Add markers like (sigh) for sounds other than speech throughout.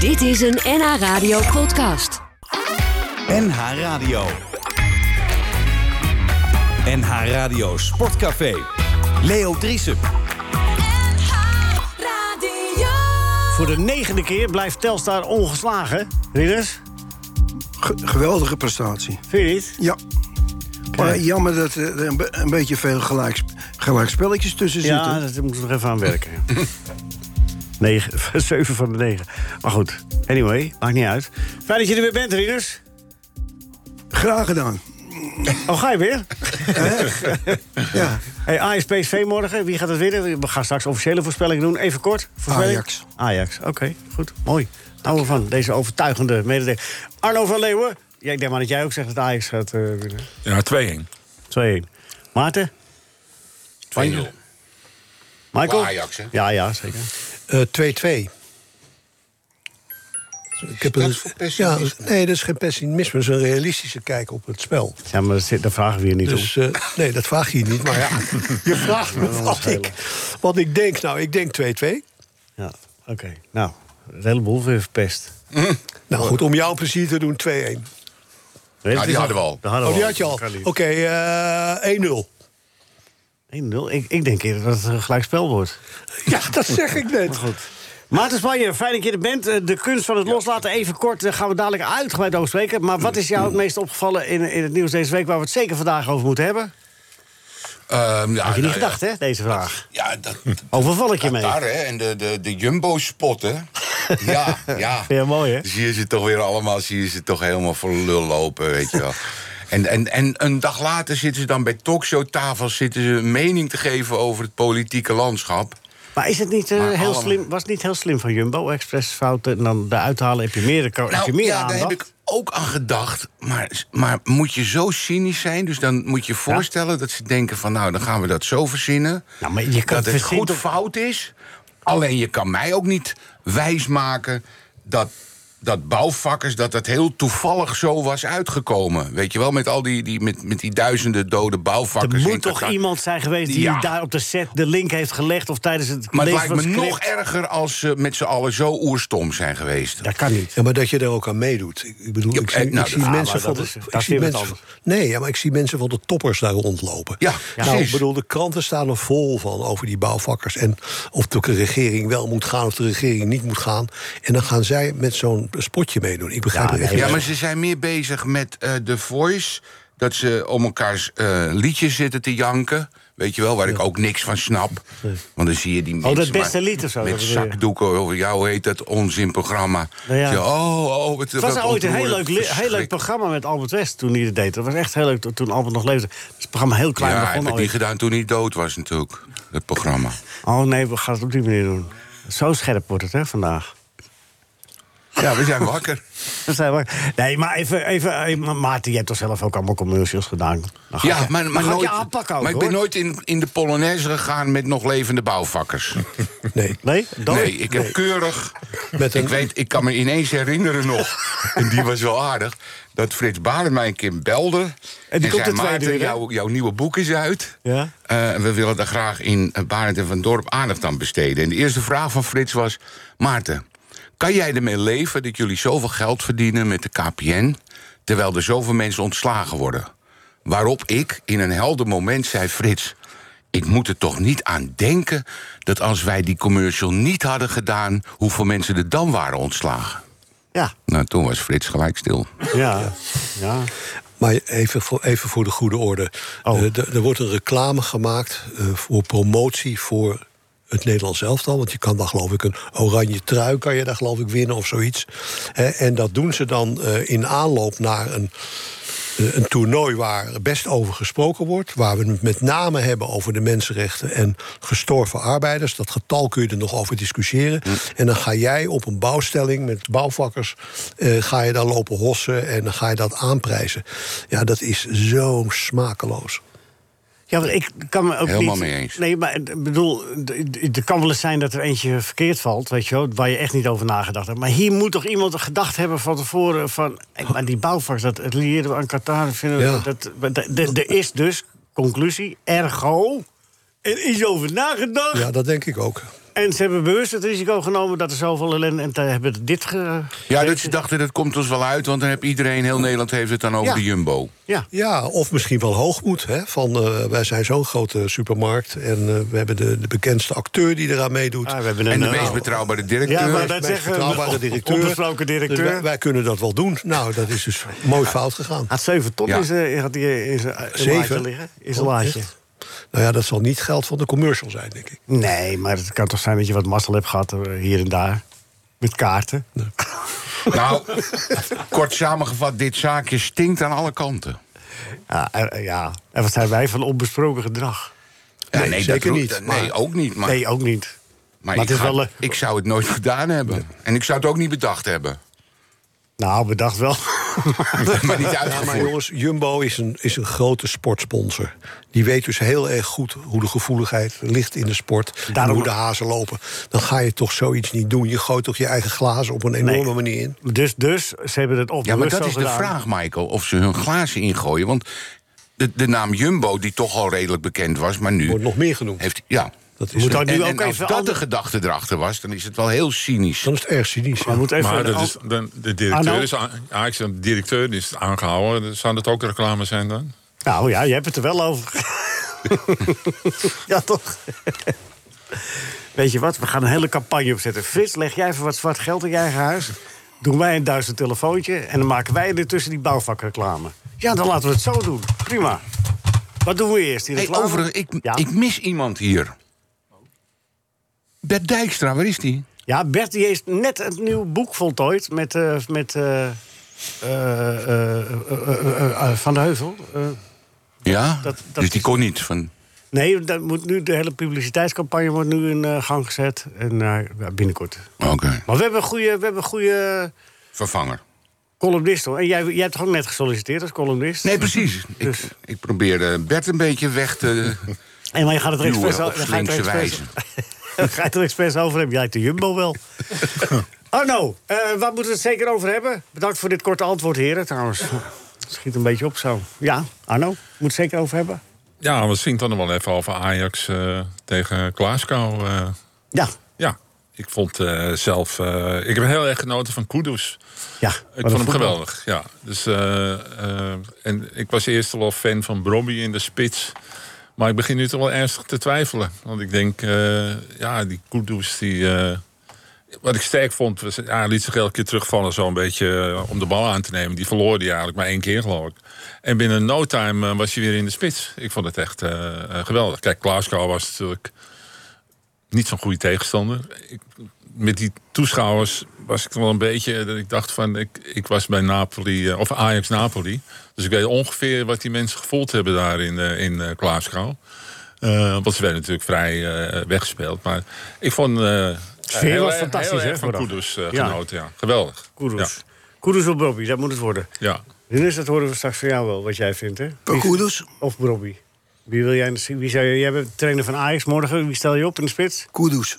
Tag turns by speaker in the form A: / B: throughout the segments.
A: Dit is een NH Radio podcast.
B: NH Radio. NH Radio Sportcafé. Leo Driesen.
C: Voor de negende keer blijft Telstar ongeslagen. Ridders,
D: Ge- geweldige prestatie.
C: vind je niet?
D: Ja. Maar jammer dat er een, be- een beetje veel gelijks, gelijkspelletjes tussen
C: Ja,
D: zitten.
C: daar moeten we nog even aan werken. (laughs) 9, 7 van de 9. Maar goed, anyway, maakt niet uit. Fijn dat je er weer bent, Ridders.
D: (laughs) Graag gedaan.
C: Oh, ga je weer?
D: Ja.
C: Hey, Ajax PSV morgen, wie gaat het winnen? We gaan straks officiële voorspellingen doen. Even kort. voorspelling.
D: Ajax.
C: Ajax, oké, goed, mooi. Houden we van, deze overtuigende mededeling. Arno van Leeuwen, ja, ik denk maar dat jij ook zegt dat Ajax gaat eh,
E: Ja, 2-1.
C: winnen. 2-1. Maarten?
F: 2-0.
C: Michael?
F: Voor Ajax, hè?
C: Ja, ja, zeker.
G: Eh, 2-2. Ik heb
F: dat
G: een,
F: voor
G: ja,
F: pessimisme?
G: nee, dat is geen pessimisme. Dat is een realistische kijk op het spel.
C: Ja, maar dat, zit- daar vragen we hier niet om.
G: Dus eh, nee, dat vraag je je niet. Maar
F: (laughs)
G: ja, je vraagt me wat ik, wat ik denk. Nou, ik denk 2-2.
C: Ja, oké. Nou, een heleboel weer verpest.
G: Nou goed, om jou plezier te doen 2-1.
C: Weet
F: die
C: het is
F: hadden we al.
C: Die hadden
G: Oh,
C: we
G: die had je al.
C: Dat kan niet.
G: Oké, eh, 1-0.
C: 1-0. Ik, ik denk eerder dat het een gelijkspel wordt.
G: (laughs) Ja, dat zeg ik net.
C: Maarten Spanje, fijn dat je er bent. Eh, De kunst van het loslaten, even kort, daar gaan we dadelijk uitgebreid over spreken. Maar wat is jou het meest opgevallen in, in het nieuws deze week... waar we het zeker vandaag over moeten hebben?
F: Ehm, ja,
C: Had je niet
F: nou ja.
C: gedacht, hè, deze vraag?
F: Ja, dat,
C: Overval ik je
F: dat
C: mee?
F: daar, hè. En de, de, de Jumbo-spotten. ja,
C: (laughs)
F: ja.
C: Vind je mooi, hè?
F: Zie je ze toch weer allemaal, zie je ze toch helemaal voor lul lopen, weet je wel. En, en, en een dag later zitten ze dan bij talkshowtafels... zitten ze een mening te geven over het politieke landschap.
C: Maar is het niet, eh,
F: Maar
C: heel
F: allemaal-
C: slim, was het niet heel slim van Jumbo? Express fouten en dan eruit halen heb je meer, dan heb je meer
F: Nou, ja,
C: aandacht.
F: daar heb ik ook aan gedacht. Maar, maar moet je zo cynisch zijn? Dus dan moet je voorstellen dat ze denken van... nou, dan gaan we dat zo verzinnen.
C: Nou, maar je kan
F: dat het
C: verzin
F: goed
C: toch-
F: fout is. Alleen je kan mij ook niet wijsmaken dat... Dat bouwvakkers, dat dat heel toevallig zo was uitgekomen. Weet je wel, met al die, die, met, met die duizenden dode
C: Er
F: bouwvakkers. in
C: moet toch
F: Qatar.
C: iemand zijn geweest die
F: Ja.
C: daar op de set de link heeft gelegd... of tijdens het
F: Maar
C: lezen
F: het lijkt
C: van
F: me
C: het
F: nog
C: script?
F: erger als ze met z'n allen zo oerstom zijn geweest.
C: Dat kan niet.
G: Ja, maar dat je daar ook aan meedoet. Ik ik bedoel,
F: Ja,
G: ik
F: eh,
G: zie,
F: nou,
G: ik zie
F: ah,
G: mensen
C: maar
G: van
C: dat
G: de...
C: is-
G: ik
C: dat is
G: zie
C: weer wat
G: mensen, nee, ja, maar ik zie mensen van de toppers daar rondlopen.
F: Ja,
G: nou, ik
F: precies.
G: bedoel, de kranten staan er vol van over die bouwvakkers... en of de regering wel moet gaan of de regering niet moet gaan. En dan gaan zij met zo'n spotje meedoen. Ik begrijp
C: Ja,
G: het echt
C: nee,
F: Ja,
G: niet.
F: maar ze zijn meer bezig met eh The Voice. Dat ze om elkaars eh, liedjes zitten te janken. Weet je wel, waar ik ook niks van snap. Want dan zie je die mensen...
C: Oh, dat beste
F: maar
C: lied of zo, dat
F: Met
C: bedoel je?
F: zakdoeken, of jou heet dat onzinprogramma.
C: Nou ja.
F: Zo, oh, oh,
C: Het was ooit een heel leuk, li- heel leuk programma met Albert West toen hij het deed. Dat was echt heel leuk to- toen Albert nog leefde. Het is een programma heel klein
F: Ja,
C: begon
F: heb ik niet
C: ooit.
F: gedaan toen hij dood was natuurlijk. Het
C: (laughs)
F: programma.
C: Oh nee, we gaan het op die manier doen. Zo scherp wordt het hè, vandaag.
F: Ja, we zijn wakker.
C: Dat zijn we. Nee, maar even, even, eh, Ma- Maarten, je hebt toch zelf ook allemaal commercials gedaan? Dan ga
F: Ja,
C: je-
F: maar,
C: dan
F: maar,
C: ga ik
F: nooit,
C: je aanpakken ook,
F: maar ik ben
C: hoor.
F: nooit in, in de Polonaise gegaan met nog levende bouwvakkers.
G: Nee,
C: Nee? Dan?
F: Nee, ik heb keurig.
G: Met een-
F: Ik, weet, ik kan me ineens herinneren
C: (laughs)
F: nog. en die was wel aardig. Dat Frits Barend mij een keer belde.
C: komt
F: En zei,
C: de tweede
F: Maarten,
C: weer, hè?
F: jouw, jouw nieuwe boek is uit.
C: Ja.
F: Eh, we willen daar graag in Barend en Van Dorp aandacht aan besteden. En de eerste vraag van Frits was... Maarten, kan jij ermee leven dat jullie zoveel geld verdienen met de KPN... terwijl er zoveel mensen ontslagen worden? Waarop ik in een helder moment zei, Frits... Ik moet er toch niet aan denken dat als wij die commercial niet hadden gedaan, hoeveel mensen er dan waren ontslagen.
C: Ja,
F: Nou, toen was Frits gelijk stil.
C: ja, ja.
G: maar even voor, even voor de goede orde.
C: Oh.
G: Eh, er- er wordt een reclame gemaakt eh, voor promotie voor het Nederlands elftal. Want je kan daar geloof ik een oranje trui kan je daar geloof ik winnen of zoiets. Hè, en dat doen ze dan eh, in aanloop naar een eh, een toernooi waar best over gesproken wordt. Waar we het met name hebben over de mensenrechten en gestorven arbeiders. Dat getal kun je er nog over discussiëren. En dan ga jij op een bouwstelling met bouwvakkers. eh, ga je daar lopen hossen en dan ga je dat aanprijzen. Ja, dat is zo smakeloos.
C: Ja, want ik kan me ook
F: Helemaal
C: niet...
F: mee eens.
C: Nee, maar ik bedoel, er kan wel eens zijn dat er eentje verkeerd valt, weet je wel, waar je echt niet over nagedacht hebt. Maar hier moet toch iemand gedacht hebben van tevoren van, hé, maar die bouwvakkers, dat het leren we aan Qatar, vinden we
G: Ja.
C: dat, dat- dat- dat- er is dus conclusie, ergo, er is over nagedacht.
G: Ja, dat denk ik ook.
C: En ze hebben bewust het risico genomen dat er zoveel ellende... en te- hebben dit ge...
F: Ja, dat ze dachten, dat komt ons wel uit... want dan heb iedereen, heel Nederland heeft het dan over
C: Ja.
F: de Jumbo.
C: Ja.
G: Ja, of misschien wel hoogmoed. Hè? Van, eh, wij zijn zo'n grote supermarkt en eh, we hebben de, de bekendste acteur die eraan meedoet.
C: Ah, we hebben een,
F: En de
C: eh,
F: meest
C: nou,
F: betrouwbare directeur.
C: Ja, maar
G: de
C: dat
G: meest
C: zeggen
G: betrouwbare
C: on-
G: directeur.
C: onbesproken directeur.
G: Dus wij, wij kunnen dat wel doen. Nou, dat is dus mooi fout gegaan.
C: Had 7 ton
F: Ja.
C: is, eh, had die in zijn in zijn laadje liggen. In zijn
G: Oh,
C: laadje.
G: echt? Nou ja, dat zal niet geld van de commercial zijn, denk ik.
C: Nee, maar het kan toch zijn dat je wat mazzel hebt gehad eh, hier en daar. Met kaarten.
F: Nou, kort samengevat, dit zaakje stinkt aan alle kanten.
C: Ja, en, eh, ja. en wat zijn wij van onbesproken gedrag?
F: Ja,
G: Nee, zeker
F: roept-
G: niet,
F: Nee,
G: maar-
F: ook niet. Maar,
C: nee, ook niet. maar
F: maar, ik,
C: het is
F: ga-
C: wel leuk.
F: ik zou het nooit (laughs) gedaan hebben. En ik zou het ook niet bedacht hebben.
C: Nou, bedacht wel.
F: (laughs) maar niet
G: Ja,
F: uitgevoerd.
G: maar jongens, Jumbo is een, is een grote sportsponsor. Die weet dus heel erg goed hoe de gevoeligheid ligt in de sport.
C: Daarom-
G: En hoe de hazen lopen. Dan ga je toch zoiets niet doen. Je gooit toch je eigen glazen op een enorme
C: Nee.
G: manier in.
C: Dus, dus ze hebben het op
F: ja, maar
C: bewust
F: dat
C: zo
F: is de
C: gedaan.
F: vraag, Michael. Of ze hun glazen ingooien. Want de, de naam Jumbo, die toch al redelijk bekend was, maar nu...
G: Wordt nog meer genoemd.
F: Heeft, ja.
G: dat is
C: Moet
G: een-
C: ook- nu
F: En, en
C: even
F: als dat
C: ander-
F: de gedachte erachter was, dan is het wel heel cynisch.
G: Dan is het erg cynisch.
C: Maar
G: ja.
C: moet even
E: Maar
C: een
E: dat
C: al-
E: is, de, Ah, nou. de
C: Arno?
E: directeur is, aan- ja, ik zeg, de directeur is aangehouden. Zou dat ook reclame zijn dan?
C: Nou ja, je hebt het er wel over. ja, toch? Weet je wat, we gaan een hele campagne opzetten. Frits, leg jij even wat zwart geld in je eigen huis. Doen wij een duizend telefoontje. En dan maken wij ertussen die bouwvakreclame. Ja, dan laten we het zo doen. Prima. Wat doen we eerst? Die
F: Hey,
C: reclame?
F: overigens, ik,
C: ja?
F: ik mis iemand hier. Bert Dijkstra, waar is die?
C: ja, Bert die heeft net het nieuw boek voltooid met... eh, met eh, eh, eh, eh, eh, eh, eh, van de Heuvel. Eh,
F: Ja,
C: dat
F: dus
C: is-
F: die kon niet. Van,
C: Nee, dat moet nu, de hele publiciteitscampagne wordt nu in eh, gang gezet. En eh, ja, binnenkort.
F: Oké,
C: Maar we hebben een goede, we hebben een goede
F: vervanger.
C: columnist hoor. En jij, jij hebt toch ook net gesolliciteerd als columnist?
F: Nee, precies.
C: Dus-
F: Ik, ik probeerde Bert een beetje weg te
C: En maar je gaat het er expres
F: duwen op
C: over. je gaat het er
F: slinkse
C: expres- (laughs)
F: wijze.
C: je gaat het er expres over hebben. Jij hebt de Jumbo
F: (laughs)
C: wel. Arno, eh waar moeten we het zeker over hebben? Bedankt voor dit korte antwoord, heren, trouwens. Het Schiet een beetje op zo. Ja, Arno, moet het zeker over hebben?
E: Ja, we zien het dan nog wel even over Ajax eh, tegen Glasgow. eh.
C: Ja.
E: ja, ik vond eh, zelf... eh, ik heb heel erg genoten van Kudus.
C: ja
E: Ik vond hem geweldig, ja. Dus, eh, eh, en ik was eerst al wel fan van Brobby in de spits. Maar ik begin nu toch wel ernstig te twijfelen. Want ik denk, eh, ja, die Kudus, die... eh, wat ik sterk vond, was, ja, hij liet zich elke keer terugvallen... zo'n beetje eh, om de bal aan te nemen. Die verloor hij eigenlijk maar één keer, geloof ik. En binnen no time eh, was hij weer in de spits. Ik vond het echt eh, eh, geweldig. Kijk, Glasgow was natuurlijk niet zo'n goede tegenstander. Ik, met die toeschouwers was ik wel een beetje dat ik dacht van ik, ik was bij Napoli eh, of Ajax Napoli, dus ik weet ongeveer wat die mensen gevoeld hebben daar in eh, in eh, Glasgow. Eh, want ze werden natuurlijk vrij eh, weggespeeld, maar ik vond eh,
C: sfeer
E: heel
C: was
E: erg-
C: fantastisch,
E: heel
C: hè,
E: erg van
C: vandaag.
E: Kudus eh,
C: Ja.
E: genoten, ja, geweldig.
C: Koeders. Koeders op Robbie, dat moet het worden.
E: Ja, ja.
C: Dennis, dat horen we straks van jou wel, wat jij vindt, hè?
D: Koeders?
C: Of Robbie. Wie wil jij, wie zou, jij bent trainer van Ajax morgen. Wie stel je op in de spits?
D: Koeders.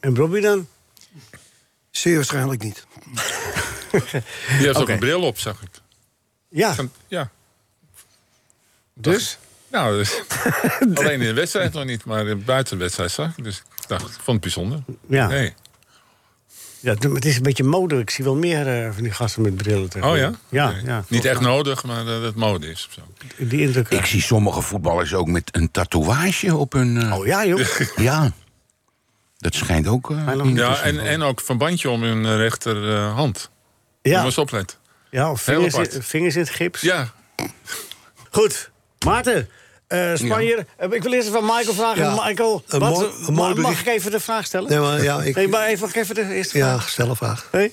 C: En Robbie dan?
D: Zeer waarschijnlijk niet.
E: Die heeft ook
C: Oké.
E: een bril op, zag ik.
C: Ja,
E: Van- Ja,
C: dus?
E: nou, (laughs) dus, alleen in de wedstrijd nog niet, maar eh, buiten de wedstrijd zag ik. Dus ik dacht, ik vond het bijzonder.
C: Ja.
E: Nee.
C: Ja, het- het is een beetje mode. Ik zie wel meer eh, van die gasten met brillen.
E: Oh
C: tegenwoordig.
E: ja?
C: Ja,
E: Oké.
C: ja.
E: Niet echt nodig, maar dat het mode is. Of zo.
C: Die indruk. eh.
F: Ik zie sommige voetballers ook met een tatoeage op hun... eh,
C: Oh ja,
E: (laughs)
C: joh.
F: Ja, dat schijnt ook... eh,
C: nog
F: in te
E: Ja,
F: zijn.
E: en, en ook verbandje om hun eh, rechterhand. Ja.
C: Ja,
E: Moet opletten.
C: ja of vingers,
E: apart.
C: in, vingers in het gips.
E: Ja,
C: Goed. Maarten, eh Spanjer. eh, ik wil eerst even aan Michael vragen.
G: Ja,
C: Michael,
G: een
C: wat-
G: mooi- een
C: ma-
G: mooi
C: mag
G: bericht.
C: ik even de vraag stellen?
G: Nee, maar ja, ik,
C: Nee, maar even, mag ik even de eerste
G: ja,
C: vraag.
G: stel een vraag.
C: Nee?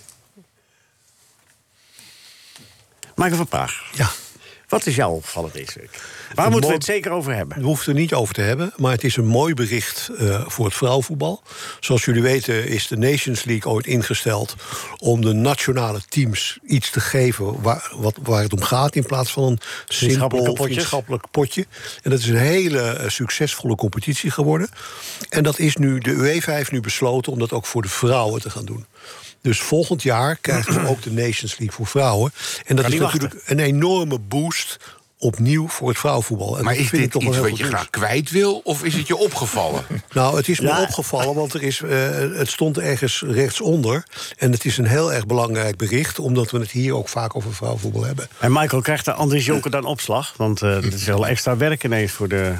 C: Michael van Praag,
G: Ja,
C: wat is jou opgevallen deze week? Waar moeten we het zeker over hebben?
G: We hoeven het er niet over te hebben, maar het is een mooi bericht eh, voor het vrouwenvoetbal. Zoals jullie weten is de Nations League ooit ingesteld om de nationale teams iets te geven waar, wat, waar het om gaat, in plaats van een
C: Vriendschappelijke
G: simpel
C: potjes.
G: vriendschappelijk potje. En dat is een hele eh, succesvolle competitie geworden. En dat is nu, de UEFA heeft nu besloten om dat ook voor de vrouwen te gaan doen. Dus volgend jaar krijgen we ook de Nations League voor vrouwen. En dat
C: Kan
G: is
C: niet
G: natuurlijk een enorme boost opnieuw voor het vrouwenvoetbal. En
F: Maar
G: dat
F: is
G: vind ik
F: dit
G: toch wel
F: iets
G: heel
F: wat je
G: goed nieuws.
F: graag kwijt wil? Of is het je opgevallen? (laughs)
G: Nou, het is me
C: Ja.
G: opgevallen, want er is, eh, het stond ergens rechtsonder. En het is een heel erg belangrijk bericht, omdat we het hier ook vaak over vrouwenvoetbal hebben.
C: En Michael, krijgt daar Andries Jonker dan opslag? Want eh dat is wel extra werk ineens voor de...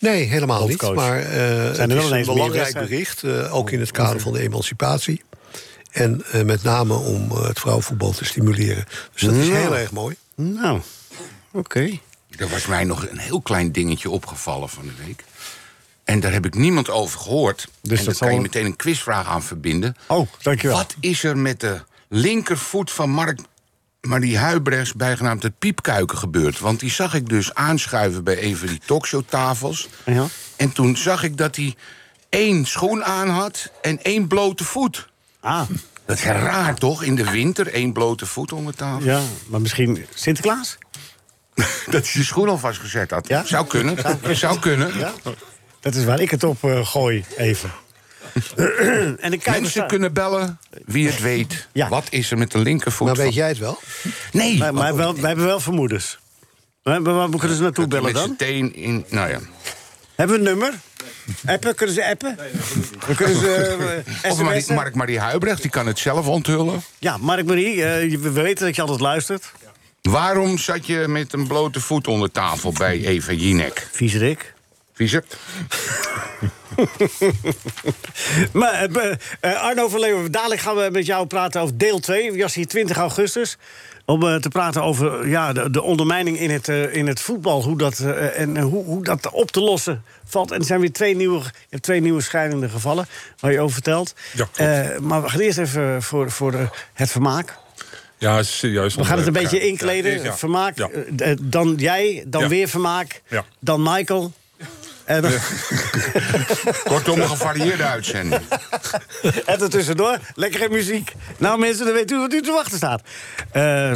G: Nee, helemaal niet.
C: Hoofdcoach.
G: Maar eh, het
C: wel
G: is een
C: ineens meer
G: belangrijk
C: wedstrijden? Oh,
G: bericht, eh, ook in het kader van de emancipatie. En eh, met name om eh, het vrouwenvoetbal te stimuleren. Dus dat is
C: Ja.
G: heel erg mooi.
C: Nou, oké.
F: Er was mij nog een heel klein dingetje opgevallen van de week. En daar heb ik niemand over gehoord.
C: Dus dat
F: en
C: zal
F: daar kan je
C: wel-
F: meteen een quizvraag aan verbinden.
C: Oh, dankjewel.
F: Wat is er met de linkervoet van Mark Marie Huibrechts... bijgenaamd het piepkuiken gebeurd? Want die zag ik dus aanschuiven bij een van die talkshowtafels.
C: Ja.
F: En toen zag ik dat hij één schoen aan had en één blote voet.
C: Ah,
F: Dat is raar, toch? In de winter één blote voet onder tafel.
C: ja, maar misschien Sinterklaas?
F: (laughs) Dat hij zijn schoen alvast gezet had.
C: Ja?
F: Zou kunnen. Zou kunnen.
C: Dat is waar ik het op eh, gooi, even. en de kijkers...
F: Mensen kunnen bellen wie het weet.
C: Ja.
F: Wat is er met de linkervoet?
G: Maar
F: van-
G: weet jij het wel?
F: Nee, oh,
C: Maar, maar wel, wij hebben wel vermoedens. Maar waar moeten ze naartoe
F: dat hij
C: bellen
F: met zijn
C: dan?
F: teen in. Nou ja.
C: Hebben we een nummer? Appen? Kunnen ze appen? Dan kunnen ze eh,
F: Of Marie-
C: sms'en?
F: Mark Marie Huibrecht, die kan het zelf onthullen.
C: Ja, Mark Marie, eh, je- we weten dat je altijd luistert.
F: Waarom zat je met een blote voet onder tafel bij Eva Jinek?
C: Viezerik.
F: Viezer?
C: Maar eh, be- eh, Arno van Leeuwen, dadelijk gaan we met jou praten over deel 2. We was hier 20 augustus. Om eh, te praten over ja, de, de ondermijning in het, eh, in het voetbal. Hoe dat, eh, en eh, hoe, hoe dat op te lossen valt. En er zijn weer twee nieuwe, je hebt twee nieuwe scheidende gevallen. Waar je over vertelt.
E: Ja, klopt.
C: Eh, maar we gaan eerst even voor, voor eh, het vermaak.
E: Ja, is serieus.
C: We gaan het een beetje inkleden. Vermaak.
E: Ja.
C: eh, eh, dan jij, dan
E: Ja.
C: weer vermaak.
E: Ja.
C: Dan Michael. En dan,
E: (laughs)
F: Kortom, een gevarieerde uitzending.
C: (laughs) En ertussendoor, lekkere muziek. Nou mensen, dan weet u wat u te wachten staat. Eh,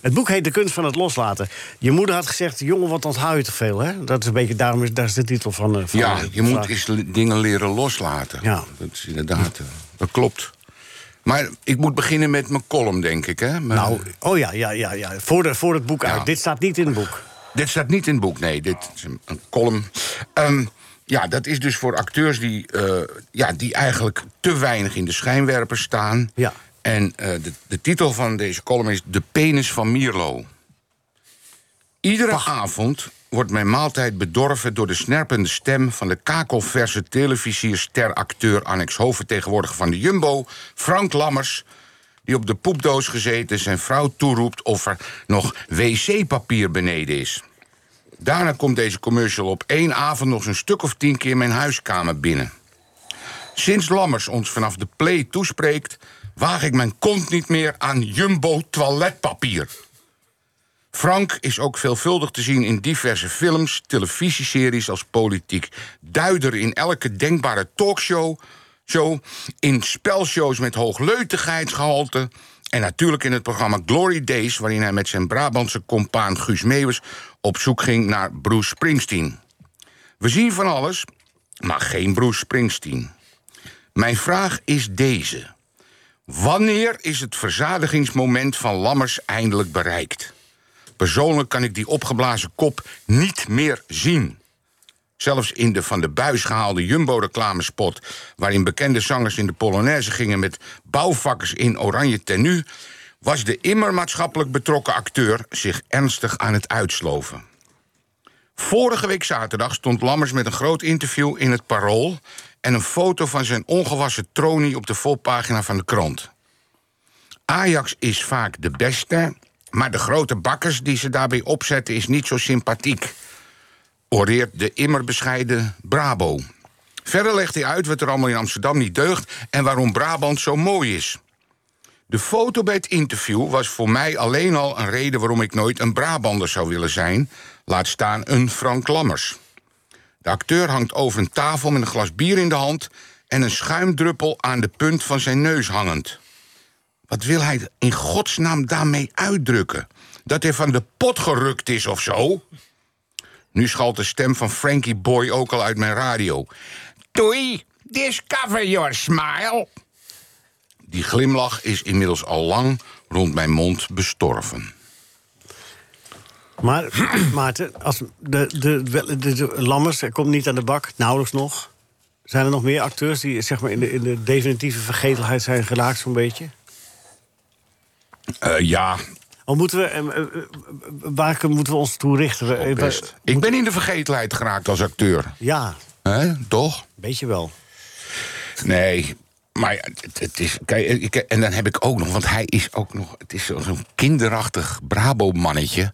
C: het boek heet De Kunst van het Loslaten. Je moeder had gezegd, jongen, wat onthoud je te veel, hè? Dat is een beetje, daarom is, daar is de titel van... eh, van
F: Ja,
C: de
F: je moet
C: vraag.
F: eens le- dingen leren loslaten.
C: Ja.
F: Dat is inderdaad, eh, dat klopt. Maar ik moet beginnen met mijn column, denk ik. Hè? Mijn-
C: Nou, oh ja, ja, ja, ja. Voor, de, voor het boek
F: Ja.
C: uit. Dit staat niet in het boek.
F: Dit staat niet in het boek, nee. Dit is een, een column. Ehm, ja, dat is dus voor acteurs die, eh, ja, die eigenlijk te weinig in de schijnwerpers staan.
C: Ja.
F: En eh, de, de titel van deze column is De penis van Mierlo. Iedere avond wordt mijn maaltijd bedorven door de snerpende stem van de kakelverse televisier-steracteur annex hoofdvertegenwoordiger van de Jumbo, Frank Lammers, die op de poepdoos gezeten zijn vrouw toeroept of er nog wc-papier beneden is. Daarna komt deze commercial op één avond nog zo'n stuk of tien keer mijn huiskamer binnen. Sinds Lammers ons vanaf de play toespreekt, waag ik mijn kont niet meer aan jumbo toiletpapier. Frank is ook veelvuldig te zien in diverse films, televisieseries als politiek duider in elke denkbare talkshow, show, in spelshows met hoogleutigheidsgehalte en natuurlijk in het programma Glory Days, waarin hij met zijn Brabantse compaan Guus Meeuwers op zoek ging naar Bruce Springsteen. We zien van alles, maar geen Bruce Springsteen. Mijn vraag is deze. Wanneer is het verzadigingsmoment van Lammers eindelijk bereikt? Persoonlijk kan ik die opgeblazen kop niet meer zien. Zelfs in de van de buis gehaalde Jumbo-reclamespot... waarin bekende zangers in de Polonaise gingen met bouwvakkers in oranje tenue... was de immer maatschappelijk betrokken acteur zich ernstig aan het uitsloven. Vorige week zaterdag stond Lammers met een groot interview in het Parool... en een foto van zijn ongewassen tronie op de voorpagina van de krant. Ajax is vaak de beste, maar de grote bakkers die ze daarbij opzetten... is niet zo sympathiek, oreert de immer bescheiden Brabo. Verder legt hij uit wat er allemaal in Amsterdam niet deugt... en waarom Brabant zo mooi is. De foto bij het interview was voor mij alleen al een reden waarom ik nooit een Brabander zou willen zijn, laat staan een Frank Lammers. De acteur hangt over een tafel met een glas bier in de hand en een schuimdruppel aan de punt van zijn neus hangend. Wat wil hij in godsnaam daarmee uitdrukken? Dat hij van de pot gerukt is of zo? Nu schalt de stem van Frankie Boy ook al uit mijn radio. Doei, discover your smile. Die glimlach is inmiddels al lang rond mijn mond bestorven.
C: Maar (clears throat) Maarten, als de, de, de, de- de Lammers hij komt niet aan de bak, nauwelijks nog. Zijn er nog meer acteurs die zeg maar, in, de, in de definitieve vergetelheid zijn geraakt, zo'n beetje?
F: Eh, ja,
C: Al moeten we, eh, eh, waar moeten we ons toe richten? We- eh,
F: best.
C: we-
F: Ik ben in de vergetelheid geraakt als acteur.
C: Ja, een
F: hè? Toch?
C: beetje wel.
F: Nee, maar ja, het, het is. Kijk, ik, en dan heb ik ook nog, want hij is ook nog. Het is zo- zo'n kinderachtig Brabo-mannetje.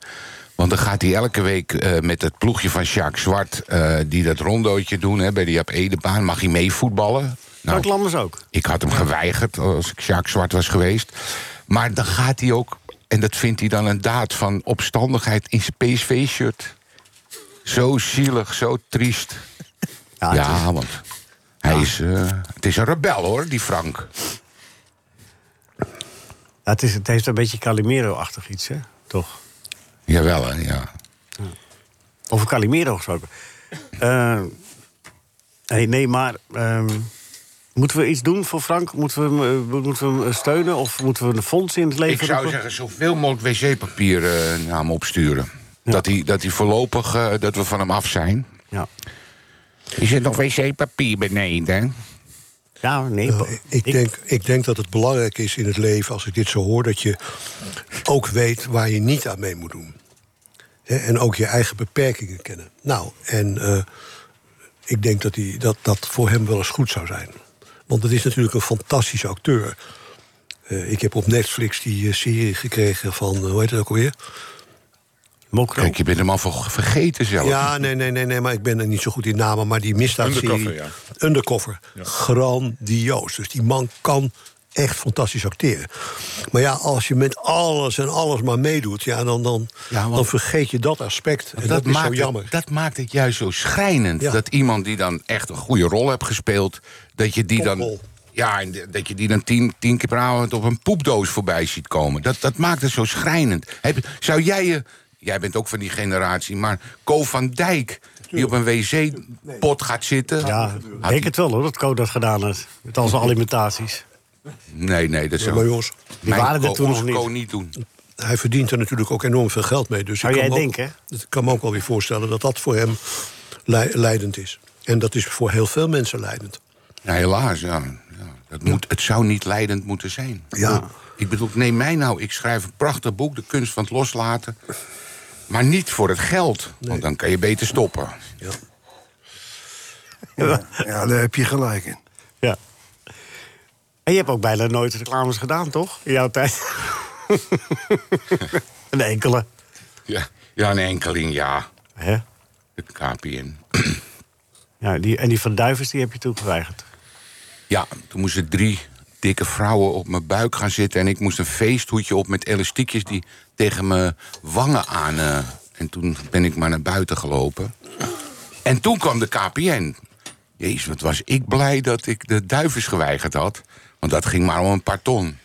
F: Want dan gaat hij elke week eh, met het ploegje van Jacques Zwart. eh, die dat rondootje doen hè, bij de Jap Edebaan. Mag hij Nou, mee voetballen?
C: Frank Lammers ook.
F: Ik had hem geweigerd als ik Jacques Zwart was geweest. Maar dan gaat hij ook, en dat vindt hij dan een daad van opstandigheid in zijn PSV-shirt. Zo zielig, zo triest. Ja,
C: het is-
F: want hij is, eh, het is een rebel hoor, die Frank.
C: Ja, het, is, het heeft een beetje Calimero-achtig iets, hè? Toch?
F: Jawel, hè, ja.
C: Over Calimero gesproken. Eh, hey, nee, maar ehm, moeten we iets doen voor Frank? Moeten we hem, eh, moeten we hem steunen? Of moeten we een fonds in het leven
F: Ik zou
C: roepen?
F: zeggen, zoveel mogelijk wc-papier eh, naar hem opsturen. Dat, hij, dat hij voorlopig, eh, dat we van hem af zijn.
C: Ja.
F: Is er nog wc-papier beneden?
C: ja, nee.
G: Eh, ik, denk, ik denk dat het belangrijk is in het leven, als ik dit zo hoor, dat je ook weet waar je niet aan mee moet doen. Hè, en ook je eigen beperkingen kennen. Nou, en eh, ik denk dat, die, dat dat voor hem wel eens goed zou zijn. Want het is natuurlijk een fantastische acteur. Eh, ik heb op Netflix die eh, serie gekregen van, eh, hoe heet het ook alweer?
C: Mokro.
F: Kijk, je bent hem al ver- vergeten zelf.
G: Ja, nee, nee, nee, nee, maar ik ben er niet zo goed in namen. Maar die misdaadserie...
E: Undercover,
G: Undercover. Grandioos. Dus die man kan echt fantastisch acteren. Maar ja, als je met alles en alles maar meedoet... Ja, dan, dan,
F: Ja, want-
G: dan vergeet je dat aspect. En dat, is zo jammer.
F: Het, dat maakt het juist zo schrijnend.
G: Ja.
F: Dat iemand die dan echt een goede rol hebt gespeeld... dat je die dan,
G: Toprol.
F: ja, en de- dat je die dan tien, tien keer per avond op een poepdoos voorbij ziet komen. Dat, dat maakt het zo schrijnend. Heb, je- zou jij je... Jij bent ook van die generatie, maar Ko van Dijk... die op een wc-pot gaat zitten...
C: Ja, ik
F: Had-
C: denk het wel hoor, dat Code dat gedaan heeft. Met al zijn alimentaties.
F: Nee, nee, dat
G: Ja, maar
F: zou
G: jongens,
F: mijn
C: waren er
F: Ko-
C: toen nog
F: onze
C: niet.
F: Ko niet doen.
G: hij verdient er natuurlijk ook enorm veel geld mee. Dus
C: Zou
G: ik kan
C: jij
G: me ook-
C: denken?
G: dat- Ik kan me ook wel weer voorstellen dat dat voor hem lei- leidend is. En dat is voor heel veel mensen leidend.
F: Ja, helaas, ja. ja. Dat moet, het zou niet leidend moeten zijn.
G: Ja.
F: Ik bedoel, neem mij nou. Ik schrijf een prachtig boek, De kunst van het loslaten. Maar niet voor het geld, want dan kan je beter stoppen.
G: Ja.
C: Ja.
D: Ja, daar heb je gelijk in.
C: En je hebt ook bijna nooit reclames gedaan, toch? In jouw (laughs) tijd. een enkele.
F: Ja, ja een enkeling, ja.
C: Hè?
F: De KPN.
C: Ja, die, en die van Duivens die heb je toen geweigerd.
F: Ja, toen moesten drie dikke vrouwen op mijn buik gaan zitten... en ik moest een feesthoedje op met elastiekjes die tegen mijn wangen aan... eh, en toen ben ik maar naar buiten gelopen. En toen kwam de KPN. Jezus, wat was ik blij dat ik de duivens geweigerd had. Want dat ging maar om een paar ton.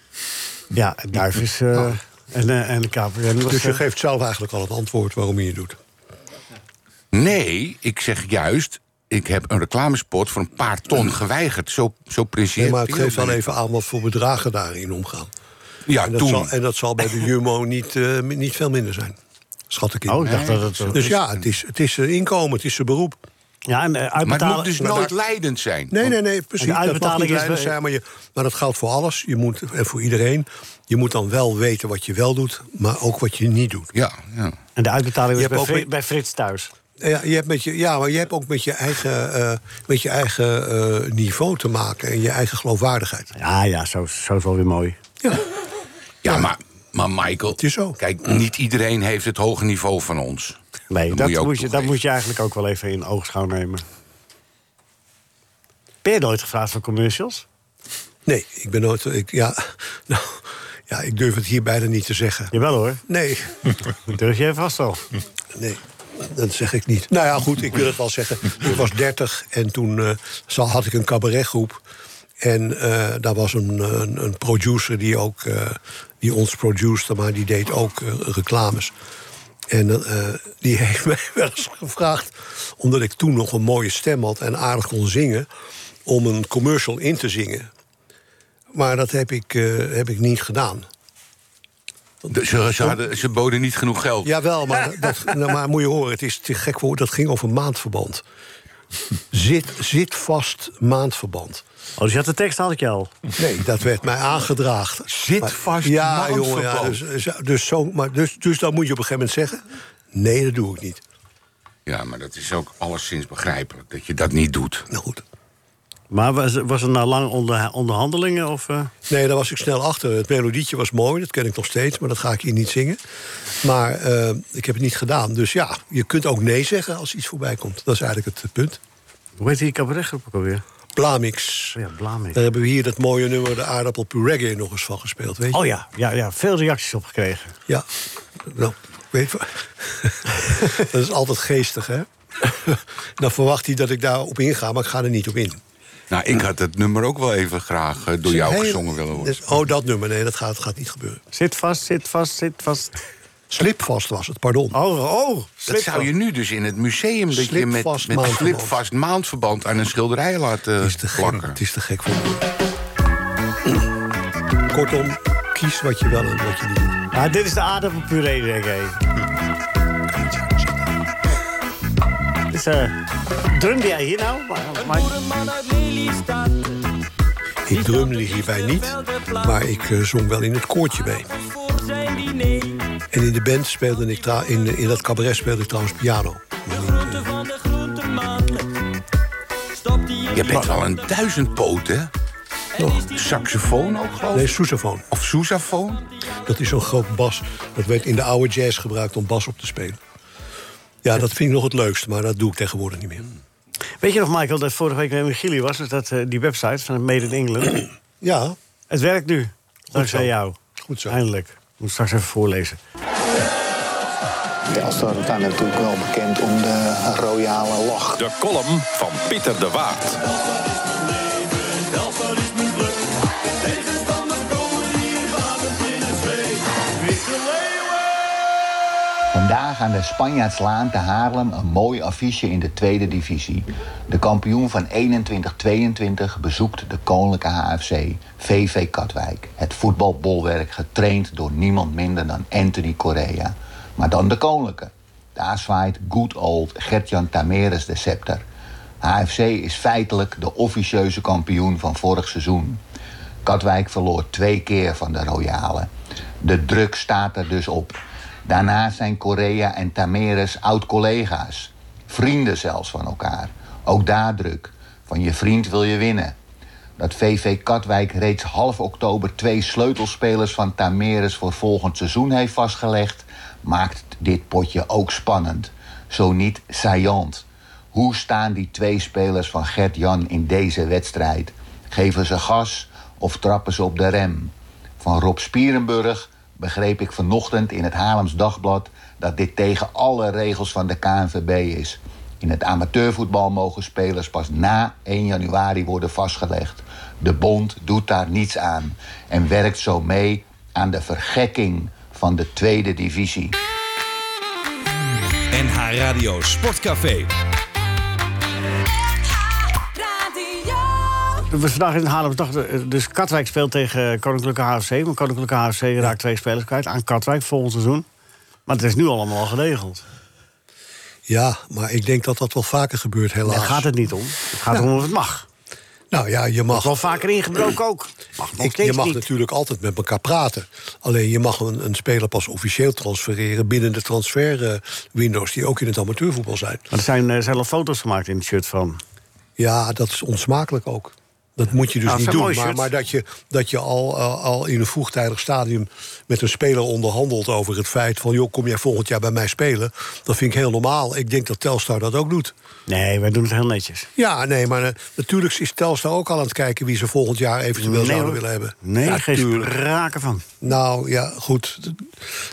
C: Ja, en Duivens eh, en, eh, en de KPN. was,
G: Dus je
C: eh,
G: geeft zelf eigenlijk al het antwoord waarom je het doet.
F: Nee, ik zeg juist... ik heb een reclamespot voor een paar ton geweigerd. Zo, zo principieel.
G: Nee, maar het geeft wel
F: ben ik.
G: even aan wat voor bedragen daarin omgaan.
F: Ja,
G: en, dat
F: toen.
G: zal, en dat zal bij de Jumbo niet, eh, mi- niet veel minder zijn. Schat ik in.
C: Oh, ik dacht dat het...
G: dus ja, het is, het is zijn inkomen, het is zijn beroep.
C: Ja, en eh,
F: Maar het moet
C: uitbetalen...
F: dus nooit leidend zijn.
G: Nee, nee, nee, precies.
C: Oh. En de
G: Dat mag
C: uitbetaling
G: niet
C: is
G: leidend
C: wel-
G: zijn, maar, je, maar dat geldt voor alles. Je moet, en voor iedereen. Je moet dan wel weten wat je wel doet, maar ook wat je niet doet.
F: Ja, ja.
C: En de uitbetaling
G: Je
C: was bij,
G: hebt ook
C: Fri-
G: met-
C: bij Frits thuis.
G: Ja, je hebt met je, ja, maar je hebt ook met je eigen, eh, met je eigen eh, niveau te maken en je eigen geloofwaardigheid.
C: Ja, ja, zo, zo is wel weer mooi.
G: Ja.
F: Ja, maar, maar Michael,
G: is zo.
F: kijk, niet iedereen heeft het hoge niveau van ons.
C: Nee,
F: Dat
C: dat,
F: moet je ook
C: moet je, dat
F: toegeven.
C: moet je eigenlijk ook wel even in oogschouw nemen. Ben je nooit gevraagd voor commercials?
G: Nee, ik ben nooit. Ik, ja, (laughs) nou, ja, ik durf het hier bijna niet te zeggen.
C: Jawel hoor,
G: Nee,
C: dat durf jij vast wel.
G: nee. Dat zeg ik niet. Nou ja, goed, ik wil het wel zeggen. Ik was 30 en toen eh, zal- had ik een cabaretgroep. En eh, daar was een, een, een producer die, ook, eh, die ons produceerde, maar die deed ook eh, reclames. En eh, die (laughs) heeft mij wel eens gevraagd, omdat ik toen nog een mooie stem had en aardig kon zingen, om een commercial in te zingen. Maar dat heb ik, eh, heb ik niet gedaan.
F: De- Ze, ze, hadden, ze boden niet genoeg geld.
G: Jawel,
F: (laughs)
G: maar, dat, nou, maar moet je horen, het is te gek voor dat ging over maandverband. Zit, zit vast maandverband.
C: Oh, dus je had de tekst had ik je al.
G: Nee, dat werd mij aangedragen.
F: Zit
G: Maar-
F: vast
G: ja,
F: maandverband.
G: jongen, ja, dus, dus- dus, zo, maar dus, dus dan moet je op een gegeven moment zeggen... nee, dat doe ik niet.
F: Ja, maar dat is ook alleszins begrijpelijk dat je dat niet doet.
G: Nou goed.
C: Maar was, was er nou lang onder, onderhandelingen? Of, eh?
G: Nee, daar was ik snel achter. Het melodietje was mooi, dat ken ik nog steeds, maar dat ga ik hier niet zingen. Maar eh, ik heb het niet gedaan. Dus ja, je kunt ook nee zeggen als iets voorbij komt. Dat is eigenlijk het eh, punt.
C: Hoe heet die cabaretgroep ook alweer?
G: Blamix.
C: Oh ja, Blamix.
G: Daar hebben we hier dat mooie nummer, de aardappelpuree reggae, nog eens van gespeeld. Weet je?
C: Oh ja, ja, ja, veel reacties op gekregen.
G: Ja. Nou, ik weet het. (laughs) dat is altijd geestig, hè? Dan verwacht hij dat ik daarop inga, maar ik ga er niet op in.
F: Nou, ik had dat nummer ook wel even graag eh, door jou
G: Heel-
F: gezongen willen worden.
G: Dus- oh, dat nummer. Nee, dat gaat, gaat niet gebeuren.
C: Zit vast, zit vast, zit vast.
G: Slipvast was het, pardon.
C: Oh, oh,
F: Dat
C: slip
F: zou je nu dus in het museum... dat je met,
G: Slipvast
F: met
G: maandverband.
F: slipvast maandverband aan een schilderij laat eh,
G: Het is te gek.
F: plakken.
G: Het is te gek voor woorden. Kortom, kies wat je wel en wat je niet doet.
C: Ah, dit is de aardappelpuree, denk ik. Dus, eh drumde jij hier nou? Maar, maar-
G: Ik drumde hierbij niet, maar ik eh, zong wel in het koortje mee. En in de band speelde ik trouw- in, in dat cabaret speelde ik trouwens piano. Maar niet, eh,
F: Je bent wel een duizendpoot, hè? Saxofoon ook, geloof
G: nee,
F: ik?
G: sousaphone.
F: Of sousafoon?
G: Dat is zo'n groot bas. Dat werd in de oude jazz gebruikt om bas op te spelen. Ja, dat vind ik nog het leukste, maar dat doe ik tegenwoordig niet meer.
C: Weet je nog, Michael, dat vorige week met Gilly was? Dus dat, eh, die website van Made in England.
G: Ja,
C: Het werkt nu, dankzij
G: zo.
C: jou.
G: Goed zo.
C: Eindelijk. Ik moet straks even voorlezen.
H: Telstar is natuurlijk wel bekend om de royale lach.
B: De column van Pieter de Waard.
H: Vandaag aan de Spanjaardslaan te Haarlem een mooi affiche in de tweede divisie. De kampioen van 21-22 bezoekt de Koninklijke HFC, VV Katwijk. Het voetbalbolwerk getraind door niemand minder dan Anthony Correa. Maar dan de Koninklijke. Daar zwaait good old Gertjan Tameres de scepter. HFC is feitelijk de officieuze kampioen van vorig seizoen. Katwijk verloor twee keer van de Royalen. De druk staat er dus op. Daarnaast zijn Correa en Tameres oud-collega's. Vrienden zelfs van elkaar. Ook daar druk. Van je vriend wil je winnen. Dat VV Katwijk reeds half oktober twee sleutelspelers van Tameres voor volgend seizoen heeft vastgelegd, maakt dit potje ook spannend. Zo niet saillant. Hoe staan die twee spelers van Gert-Jan in deze wedstrijd? Geven ze gas of trappen ze op de rem? Van Rob Spierenburg begreep ik vanochtend in het Haarlems Dagblad dat dit tegen alle regels van de KNVB is. In het amateurvoetbal mogen spelers pas na 1 januari worden vastgelegd. De bond doet daar niets aan en werkt zo mee aan de vergekking van de tweede divisie.
B: NH Radio Sportcafé.
C: Er was vandaag in Haarlem toch, eh, dus Katwijk speelt tegen eh, Koninklijke HFC. Maar Koninklijke HFC raakt twee spelers kwijt aan Katwijk volgend seizoen. Maar het is nu allemaal al geregeld.
G: ja, maar ik denk dat dat wel vaker gebeurt, helaas.
C: Daar gaat het niet om. Het gaat erom of het mag.
G: Nou ja, je mag,
C: Wel vaker ingebroken ook. Mag nog
G: ik, je
C: steeds
G: mag
C: niet.
G: natuurlijk altijd met elkaar praten. Alleen je mag een, een speler pas officieel transfereren binnen de transferwindows die ook in het amateurvoetbal zijn.
C: Maar er zijn, eh, zijn al foto's gemaakt in het shirt van.
G: Ja, dat is onsmakelijk ook. Dat moet je dus
C: Nou, het zijn
G: niet doen.
C: mooie
G: Maar,
C: shirts.
G: maar dat je, dat je al, al- al in een vroegtijdig stadium met een speler onderhandelt over het feit van joh, kom jij volgend jaar bij mij spelen? Dat vind ik heel normaal. Ik denk dat Telstar dat ook doet.
C: Nee, wij doen het heel netjes.
G: Ja, nee, maar eh, natuurlijk is Telstar ook al aan het kijken wie ze volgend jaar eventueel
C: Nee,
G: zouden
C: hoor.
G: willen hebben.
C: Nee,
G: Ja,
C: geen
G: tuurlijk.
C: raken van.
G: Nou ja, goed.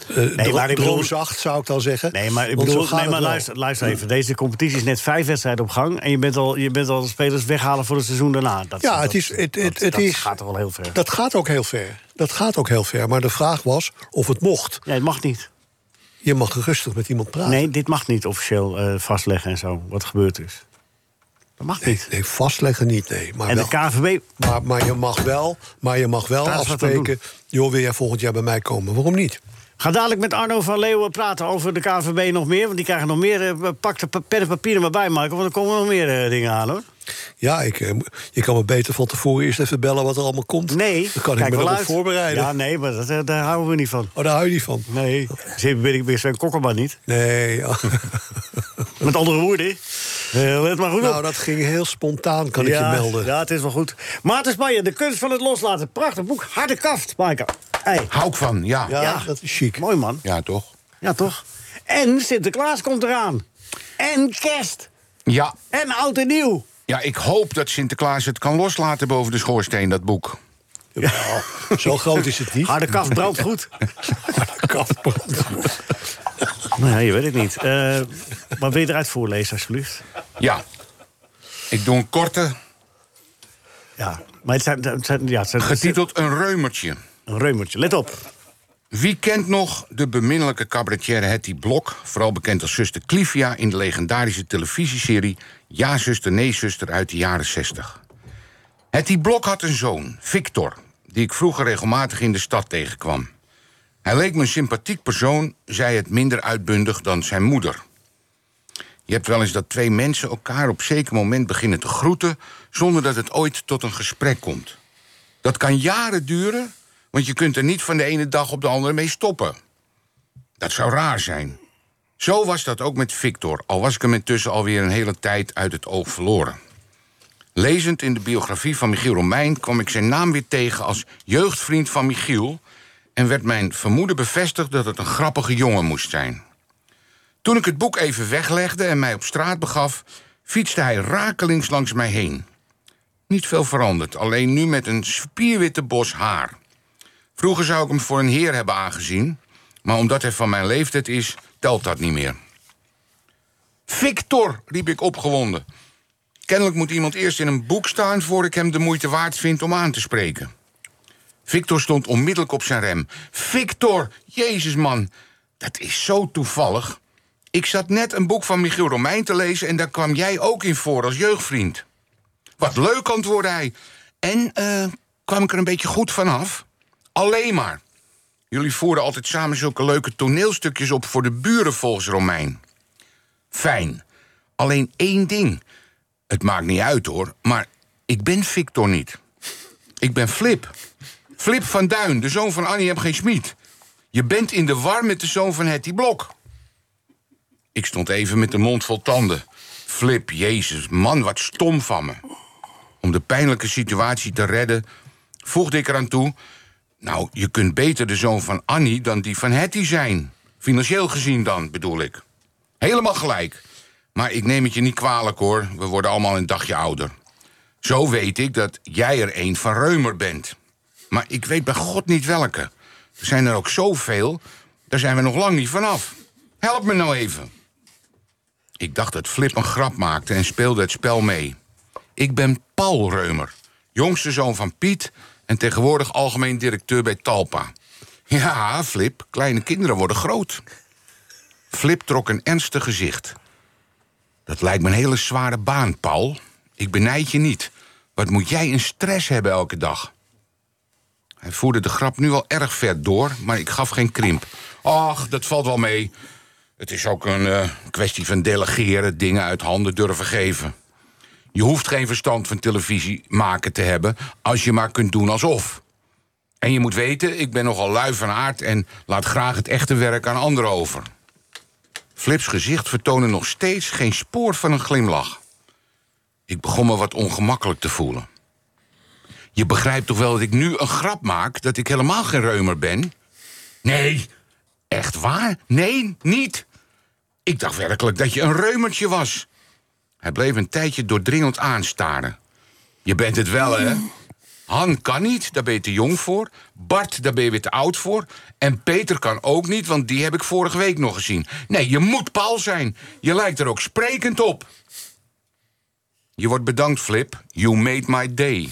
G: Eh nee,
C: maar ik bedoel-
G: zacht zou ik dan zeggen.
C: Nee, maar, ik
G: Want zo
C: bedoel,
G: gaat
C: nee,
G: het
C: maar
G: wel.
C: luister, luister even. Deze competitie is net vijf wedstrijden op gang. En je bent al, je bent al spelers weghalen voor het seizoen daarna. Dat,
G: Ja,
C: dat-
G: het is- het-
C: dat-
G: het- het
C: dat
G: is-
C: gaat toch wel heel ver.
G: Dat gaat ook heel ver. Dat gaat ook heel ver. Maar de vraag was of het mocht.
C: Nee, het mag niet.
G: Je mag rustig met iemand praten.
C: Nee, dit mag niet officieel eh, vastleggen en zo, wat gebeurd is. Dat mag
G: Nee,
C: niet.
G: nee, vastleggen niet, nee. Maar
C: En de
G: wel-
C: KVB,
G: Maar, maar je mag wel, maar je mag wel
C: Daar is wat aan
G: afspreken. Joh, wil jij volgend jaar bij mij komen? Waarom niet?
C: Ga dadelijk met Arno van Leeuwen praten over de KVB nog meer. Want die krijgen nog meer. eh, pak de pa- pen en papier er maar bij, Marco. Want er komen nog meer eh, dingen aan, hoor.
G: Ja, ik, eh, mo- je kan me beter van tevoren eerst even bellen wat er allemaal komt.
C: Nee.
G: Dan kan ik
C: kijk
G: me
C: wel
G: erop
C: uit.
G: voorbereiden.
C: Ja, nee, maar dat, eh, daar houden we niet van.
G: Oh, daar hou je niet van.
C: Nee, ik ben ik Sven Kokkerman niet.
G: Nee, ja.
C: Met andere woorden, eh, let maar goed op.
G: nou, dat ging heel spontaan, kan
C: ja,
G: ik je melden.
C: Ja, het is wel goed. Maarten Spanje, De Kunst van het Loslaten. Prachtig boek. Harde kaft, Maaike. Hey,
F: Hou ik van, ja.
G: Ja,
F: Ja,
C: ja.
G: dat is chic.
C: mooi man.
F: toch?
C: Ja, toch? En Sinterklaas komt eraan. En kerst.
F: Ja.
C: En oud en nieuw.
F: ja, ik hoop dat Sinterklaas het kan loslaten boven de schoorsteen, dat boek.
G: Zo groot is het niet.
C: Harde kaft brandt
G: (laughs)
C: goed. Nou ja, je weet het niet. Eh maar wil je eruit voorlezen, alsjeblieft?
F: Ja. Ik doe een korte,
C: Ja, maar het zijn, het zijn, ja, het zijn
F: getiteld Een Reumertje.
C: Een reumertje, let op.
F: Wie kent nog de beminnelijke cabaretière Hetty Blok... vooral bekend als zuster Clivia in de legendarische televisieserie... Ja, zuster, nee, zuster uit de jaren 60. Hetty Blok had een zoon, Victor... die ik vroeger regelmatig in de stad tegenkwam. Hij leek me een sympathiek persoon, zei het minder uitbundig dan zijn moeder. Je hebt wel eens dat twee mensen elkaar op zeker moment beginnen te groeten... zonder dat het ooit tot een gesprek komt... Dat kan jaren duren, want je kunt er niet van de ene dag op de andere mee stoppen. Dat zou raar zijn. Zo was dat ook met Victor, al was ik hem intussen alweer een hele tijd uit het oog verloren. Lezend in de biografie van Michiel Romein kwam ik zijn naam weer tegen als jeugdvriend van Michiel en werd mijn vermoeden bevestigd dat het een grappige jongen moest zijn. Toen ik het boek even weglegde en mij op straat begaf, fietste hij rakelings langs mij heen. Niet veel veranderd, alleen nu met een spierwitte bos haar. Vroeger zou ik hem voor een heer hebben aangezien, maar omdat hij van mijn leeftijd is, telt dat niet meer. Victor, riep ik opgewonden. Kennelijk moet iemand eerst in een boek staan voor ik hem de moeite waard vind om aan te spreken. Victor stond onmiddellijk op zijn rem. Victor, Jezus man, dat is zo toevallig. Ik zat net een boek van Michiel Romein te lezen en daar kwam jij ook in voor als jeugdvriend. Wat leuk, antwoordde hij. En eh, kwam ik er een beetje goed vanaf? Alleen maar. Jullie voerden altijd samen zulke leuke toneelstukjes op voor de buren volgens Romein. Fijn. Alleen één ding. Het maakt niet uit hoor, maar ik ben Victor niet. Ik ben Flip. Flip van Duin, de zoon van Annie M. G. Schmid. Je bent in de war met de zoon van Hetty Blok. Ik stond even met de mond vol tanden. Flip, jezus, man, wat stom van me. Om de pijnlijke situatie te redden, voegde ik eraan toe... nou, je kunt beter de zoon van Annie dan die van Hetty zijn. Financieel gezien dan, bedoel ik. Helemaal gelijk. Maar ik neem het je niet kwalijk, hoor. We worden allemaal een dagje ouder. Zo weet ik dat jij er een van Reumer bent. Maar ik weet bij God niet welke. Er zijn er ook zoveel, daar zijn we nog lang niet vanaf. Help me nou even. Ik dacht dat Flip een grap maakte en speelde het spel mee. Ik ben Paul Reumer, jongste zoon van Piet en tegenwoordig algemeen directeur bij Talpa. Ja, Flip, kleine kinderen worden groot. Flip trok een ernstig gezicht. Dat lijkt me een hele zware baan, Paul. Ik benijd je niet. Wat moet jij een stress hebben elke dag? Hij voerde de grap nu al erg ver door, maar ik gaf geen krimp. Ach, dat valt wel mee. Het is ook een eh, kwestie van delegeren, dingen uit handen durven geven. Je hoeft geen verstand van televisie maken te hebben als je maar kunt doen alsof. En je moet weten, ik ben nogal lui van aard en laat graag het echte werk aan anderen over. Flips gezicht vertoonde nog steeds geen spoor van een glimlach. Ik begon me wat ongemakkelijk te voelen. Je begrijpt toch wel dat ik nu een grap maak dat ik helemaal geen reumer ben? Nee, echt waar? Nee, niet. Ik dacht werkelijk dat je een reumertje was. Hij bleef een tijdje doordringend aanstaren. Je bent het wel, hè? Han kan niet, daar ben je te jong voor. Bart, daar ben je weer te oud voor. En Peter kan ook niet, want die heb ik vorige week nog gezien. Nee, je moet Paul zijn. Je lijkt er ook sprekend op. Je wordt bedankt, Flip. You made my day.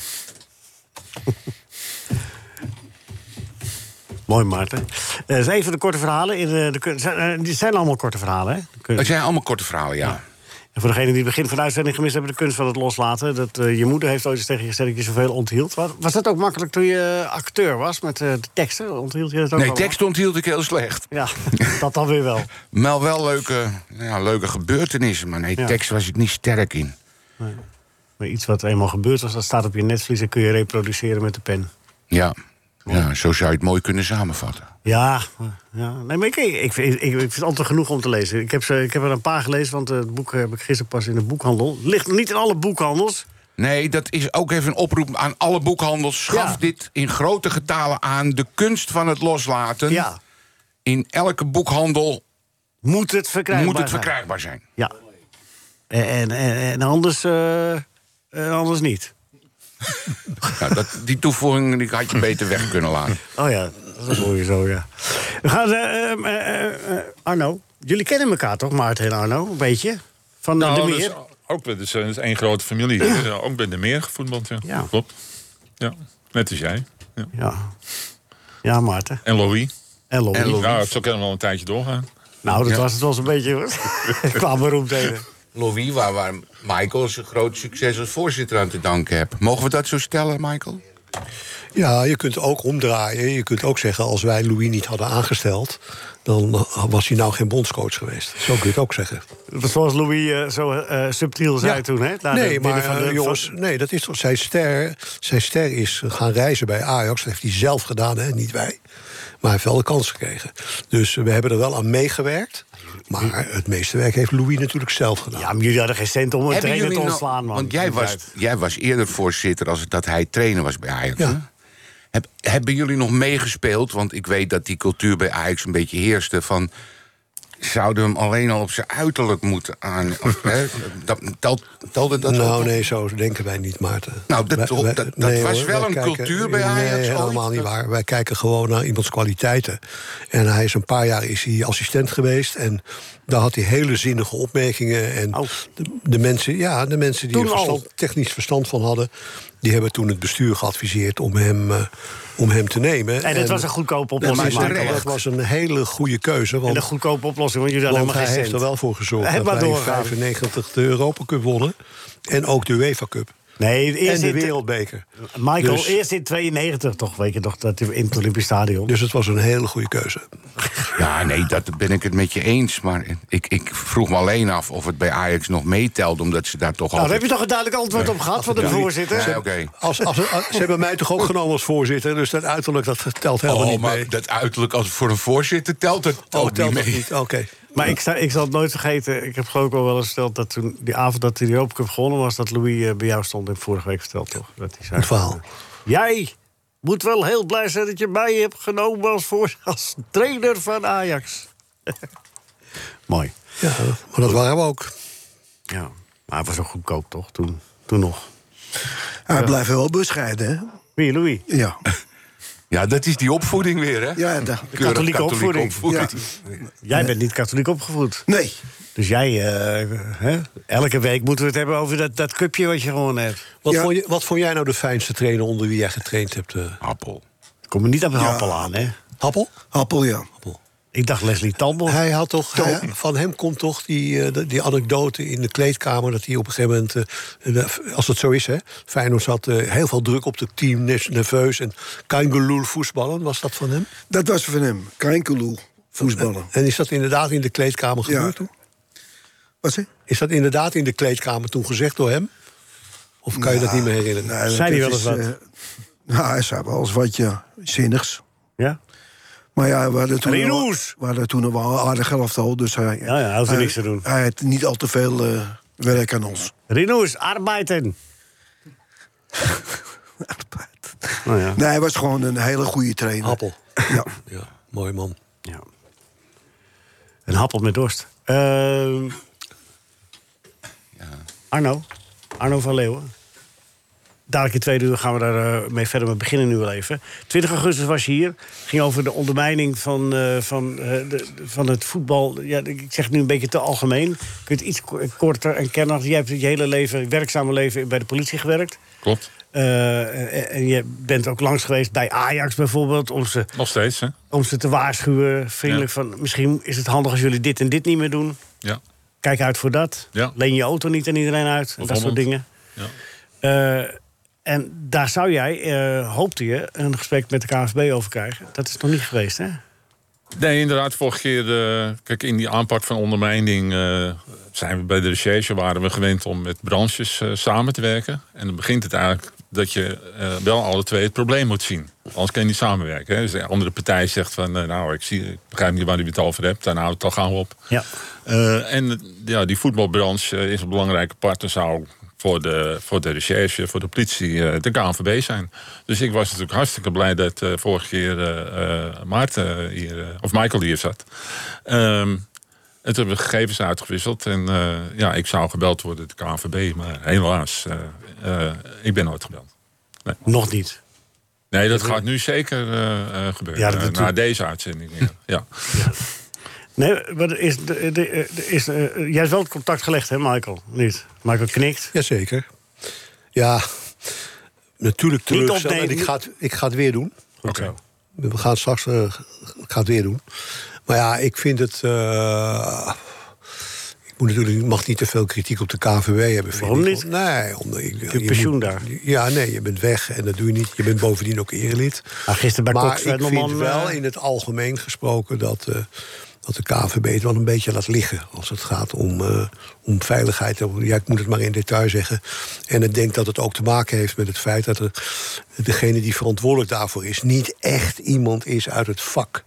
C: Mooi, Maarten. Eh, Dat is een eh, van de korte verhalen. In de, de kun- zijn- eh, die zijn allemaal korte verhalen, hè? De kun-
F: Het zijn allemaal korte verhalen, ja.
C: En voor degenen die het begin van de uitzending gemist hebben, de kunst van het loslaten. Dat, eh, je moeder heeft ooit eens tegen je gezegd dat je zoveel onthield. Was, was dat ook makkelijk toen je acteur was met eh, de teksten? Onthield je dat ook
F: Nee,
C: allemaal?
F: tekst onthield ik heel slecht.
C: Ja, (laughs) dat dan weer wel.
F: Maar wel leuke, ja, leuke gebeurtenissen. Maar nee,
C: Ja.
F: tekst was ik niet sterk in.
C: Maar iets wat eenmaal gebeurd was, dat staat op je netvlies en kun je reproduceren met de pen.
F: Ja. ja, zo zou je het mooi kunnen samenvatten.
C: Ja, ja. Nee, maar ik, ik, vind- ik, ik vind het altijd genoeg om te lezen. Ik heb, ze, ik heb er een paar gelezen, want eh, het boek heb ik gisteren pas in de boekhandel. Ligt niet in alle boekhandels.
F: Nee, dat is ook even een oproep aan alle boekhandels. Schaf
C: Ja.
F: dit in grote getalen aan. De kunst van het loslaten.
C: Ja,
F: In elke boekhandel
C: moet het verkrijgbaar
F: moet het
C: zijn.
F: verkrijgbaar zijn.
C: Ja. En, en, en anders, eh, en anders niet.
F: Ja, Nou, dat, die toevoeging die had je beter weg kunnen laten.
C: Oh ja, dat is mooi zo, ja. We gaan, eh, ehm, eh, eh, eh, Arno, jullie kennen elkaar toch, Maarten en Arno? Een beetje? Van eh,
E: Nou,
C: de
E: dat
C: meer?
E: is ook dat is, dat is één grote
C: (clears throat)
E: familie. Dus, eh, ook bij de meer gevoetbald, ja.
C: Ja.
E: Klopt. Ja, net als jij. Ja.
C: Ja. ja, Maarten.
E: En Louis.
C: En Lonnie.
F: En Lonnie.
E: Ja, Ah, zo kunnen we al een tijdje doorgaan.
C: Nou, dat was het wel eens een beetje,
G: (laughs)
C: hoor. Ik kwam beroemd tegen.
F: (laughs) Louis, waar, waar Michael zijn groot succes als voorzitter aan te danken hebt. Mogen we dat zo stellen, Michael?
G: Ja, je kunt ook omdraaien. Je kunt ook zeggen, als wij Louis niet hadden aangesteld... dan was hij nou geen bondscoach geweest. Zo kun je het ook zeggen.
C: Zoals Louis eh, zo eh, subtiel zei
G: Ja.
C: toen, hè? Na de
G: nee,
C: winnen
G: maar
C: van de-
G: eh, jongens, nee, dat is toch zijn ster. Zijn ster is gaan reizen bij Ajax. Dat heeft hij zelf gedaan, hè, niet wij. Maar hij heeft wel de kans gekregen. Dus we hebben er wel aan meegewerkt. Maar het meeste werk heeft Louis natuurlijk zelf gedaan.
C: Ja, maar jullie hadden geen cent om een
F: Hebben
C: trainer te
F: jullie nou-
C: ontslaan, man.
F: Want jij was, jij was eerder voorzitter als dat hij trainer was bij Ajax.
G: Ja.
F: hè? Heb, hebben jullie nog meegespeeld? Want ik weet dat die cultuur bij Ajax een beetje heerste van... zouden we hem alleen al op zijn uiterlijk moeten aan... of, hè, dat, telt, telde dat
G: nou,
F: ook?
G: nee, zo denken wij niet, Maarten.
F: Nou, dat- dat- dat was wel
G: wij
F: een cultuur bij Ajax
G: Nee,
F: ooit.
G: helemaal niet
F: Dat-
G: waar. Wij kijken gewoon naar iemands kwaliteiten. En hij is een paar jaar is hij assistent geweest. En daar had hij hele zinnige opmerkingen. En
C: Oh.
G: de, de mensen, ja, de mensen die
C: Toen
G: er verstand,
C: al.
G: technisch verstand van hadden... die hebben toen het bestuur geadviseerd om hem, eh, om hem te nemen.
C: En dat was een goedkope
G: dat
C: oplossing,
G: is een-
C: Michael.
G: dat was een hele goede keuze.
C: En
G: Want
C: een goedkope oplossing, want jullie hadden
G: want
C: helemaal
G: hij
C: geen
G: heeft
C: cent.
G: er wel voor gezorgd
C: Hij
G: dat
C: maar
G: wij in
C: doorgaan.
G: 95 de Europa Cup wonnen. En ook de UEFA Cup.
C: Nee,
G: En
C: eerst
G: de
C: in-
G: wereldbeker.
C: Michael,
G: Dus-
C: eerst in 92 toch, weet je nog, dat in het Olympisch Stadion.
G: Dus het was een hele goede keuze.
F: Ja, nee, dat ben ik het met je eens. Maar ik, ik vroeg me alleen af of het bij Ajax nog meetelde... omdat ze daar toch al...
C: nou, daar heb je toch een duidelijk antwoord op gehad van de voorzitter?
F: Nee, oké.
G: Als, als, als- ze hebben mij toch ook genomen als voorzitter. Dus dat uiterlijk dat telt helemaal
F: Oh,
G: niet
F: maar
G: mee.
F: dat uiterlijk als voor een voorzitter telt het
G: Oh,
F: ook
G: telt
F: niet
G: dat
F: mee.
G: niet. Oké.
C: Maar ik, sta, ik zal het nooit vergeten. Ik heb geloof ik al wel eens verteld dat toen die avond dat hij de Open Cup gewonnen was, dat Louis eh, bij jou stond. Ik heb vorige week verteld toch? Dat hij zei,
G: Goed verhaal.
C: Jij moet wel heel blij zijn dat je mij hebt genomen als, voor, (laughs) als trainer van Ajax. (laughs) Mooi.
G: Ja, maar dat waren we ook.
C: Ja. Maar hij was ook goedkoop toch? Toen, toen nog.
D: Hij blijft wel bescheiden, hè?
C: Wie, Louis? (laughs)
D: Ja.
F: Ja, dat is die opvoeding weer, hè?
D: Ja, dat-
F: Keurig
C: katholieke opvoeding.
D: ja.
C: Jij bent niet katholiek opgevoed.
D: Nee.
C: Dus jij, eh, hè? elke week moeten we het hebben over dat, dat cupje wat je gewonnen hebt.
G: Wat,
D: Ja.
G: vond je, wat vond jij nou de fijnste trainer onder wie jij getraind hebt? eh?
F: Appel.
C: Kom er niet aan de appel aan, hè?
G: Happel?
D: Appel, ja.
C: Ik dacht Leslie Tambel.
G: Hij had toch, hij- van hem komt toch die, eh, de- die anekdote in de kleedkamer... dat hij op een gegeven moment, eh, de- als het zo is... Hè, Feyenoord had eh, heel veel druk op het team, nes- nerveus... en kein geloel voetballen, was dat van hem?
D: Dat was van hem. Krenkeloe. Voetballen.
G: En is dat inderdaad in de kleedkamer
D: Ja.
G: gebeurd toen?
D: Wat zei
G: Is dat inderdaad in de kleedkamer toen gezegd door hem? Of kan je dat niet meer herinneren?
D: Nou, Nee,
C: Zei hij
D: dat
C: wel
D: is,
C: eens
D: eh, (laughs) nou, hij zei wel eens wat ja, zinnigs.
C: Ja?
D: Maar ja, we hadden toen,
C: Rinus!
D: al- we hadden toen al wel een aardig helftal, dus hij,
C: Ja, ja, hij hoefde
D: hij-
C: niks te doen.
D: Hij had niet al te veel eh, werk aan ons.
C: Rinoes, arbeiten. (laughs) Nou ja.
D: Nee, hij was gewoon een hele goede trainer.
G: Appel.
D: Ja.
G: Ja, mooi man.
C: ja. Een happel met dorst. Ehm, Arno. Arno van Leeuwen. Dadelijk in tweede uur gaan we daar eh, mee verder. We beginnen nu wel even. 20 augustus was je hier. Ging over de ondermijning van, eh, van, eh, de, de- van het voetbal. Ja, ik zeg het nu een beetje te algemeen. Kun je het iets ko- korter en kernig... Jij hebt je hele leven, werkzame leven bij de politie gewerkt.
E: Klopt.
C: Eh, en, en je bent ook langs geweest bij Ajax bijvoorbeeld... om ze,
E: Nog steeds, hè?
C: om ze te waarschuwen, vriendelijk
E: Ja.
C: van... misschien is het handig als jullie dit en dit niet meer doen.
E: Ja.
C: Kijk uit voor dat.
E: Ja.
C: Leen je auto niet aan iedereen uit. en dat soort dingen. Eh, en daar zou jij, eh, hoopte je, een gesprek met de KNVB over krijgen. Dat is nog niet geweest, hè?
E: Nee, inderdaad. Vorige keer, eh, kijk, in die aanpak van ondermijning eh, zijn we bij de recherche waren we gewend om met branches eh, samen te werken. En dan begint het eigenlijk dat je eh, wel alle twee het probleem moet zien. Anders kan je niet samenwerken. Hè. Dus de andere partij zegt van, eh, nou, ik, zie, ik begrijp niet waar u het over hebt. Daar houdt het al gaan we op.
C: Ja.
E: Eh, en eh, ja, die voetbalbranche eh, is een belangrijke partner zou voor de, voor de recherche, voor de politie, eh, de KNVB zijn. Dus ik was natuurlijk hartstikke blij dat eh, vorige keer eh, eh, Maarten hier, eh, of Michael hier zat. Ehm, en toen hebben we gegevens uitgewisseld. En eh, ja, ik zou gebeld worden, de KNVB, maar helaas, eh, eh, ik ben nooit gebeld.
C: Nog niet.
E: Nee, dat gaat nu zeker eh, eh, gebeuren.
C: Ja, dat
E: eh,
C: natuurlijk.
E: na deze uitzending. ja. ja.
C: Nee, maar er is, de, de, er is, eh, jij hebt wel het contact gelegd, hè, Michael? Niet? Michael knikt.
G: Jazeker. Ja, natuurlijk
C: Niet
G: teleurgesteld. En
C: opnemen.
G: ik ga, het, ik ga het weer doen.
C: Oké.
G: We gaan het straks eh, ik ga het weer doen. Maar ja, ik vind het. eh, ik moet natuurlijk, ik mag niet te veel kritiek op de KVW hebben. Vind
C: Waarom
G: ik.
C: niet?
G: Nee, omdat ik.
C: Je pensioen
G: moet-
C: daar.
G: Ja, nee, je bent weg en dat doe je niet. Je bent bovendien ook erelid.
C: Nou, gisteren bij
G: maar
C: Cox werd
G: ik
C: nog
G: vind
C: man,
G: wel
C: eh,
G: in het algemeen gesproken dat. eh, dat de KVB het wel een beetje laat liggen als het gaat om, eh, om veiligheid. Ja, ik moet het maar in detail zeggen. En ik denk dat het ook te maken heeft met het feit dat er, degene die verantwoordelijk daarvoor is, niet echt iemand is uit het vak.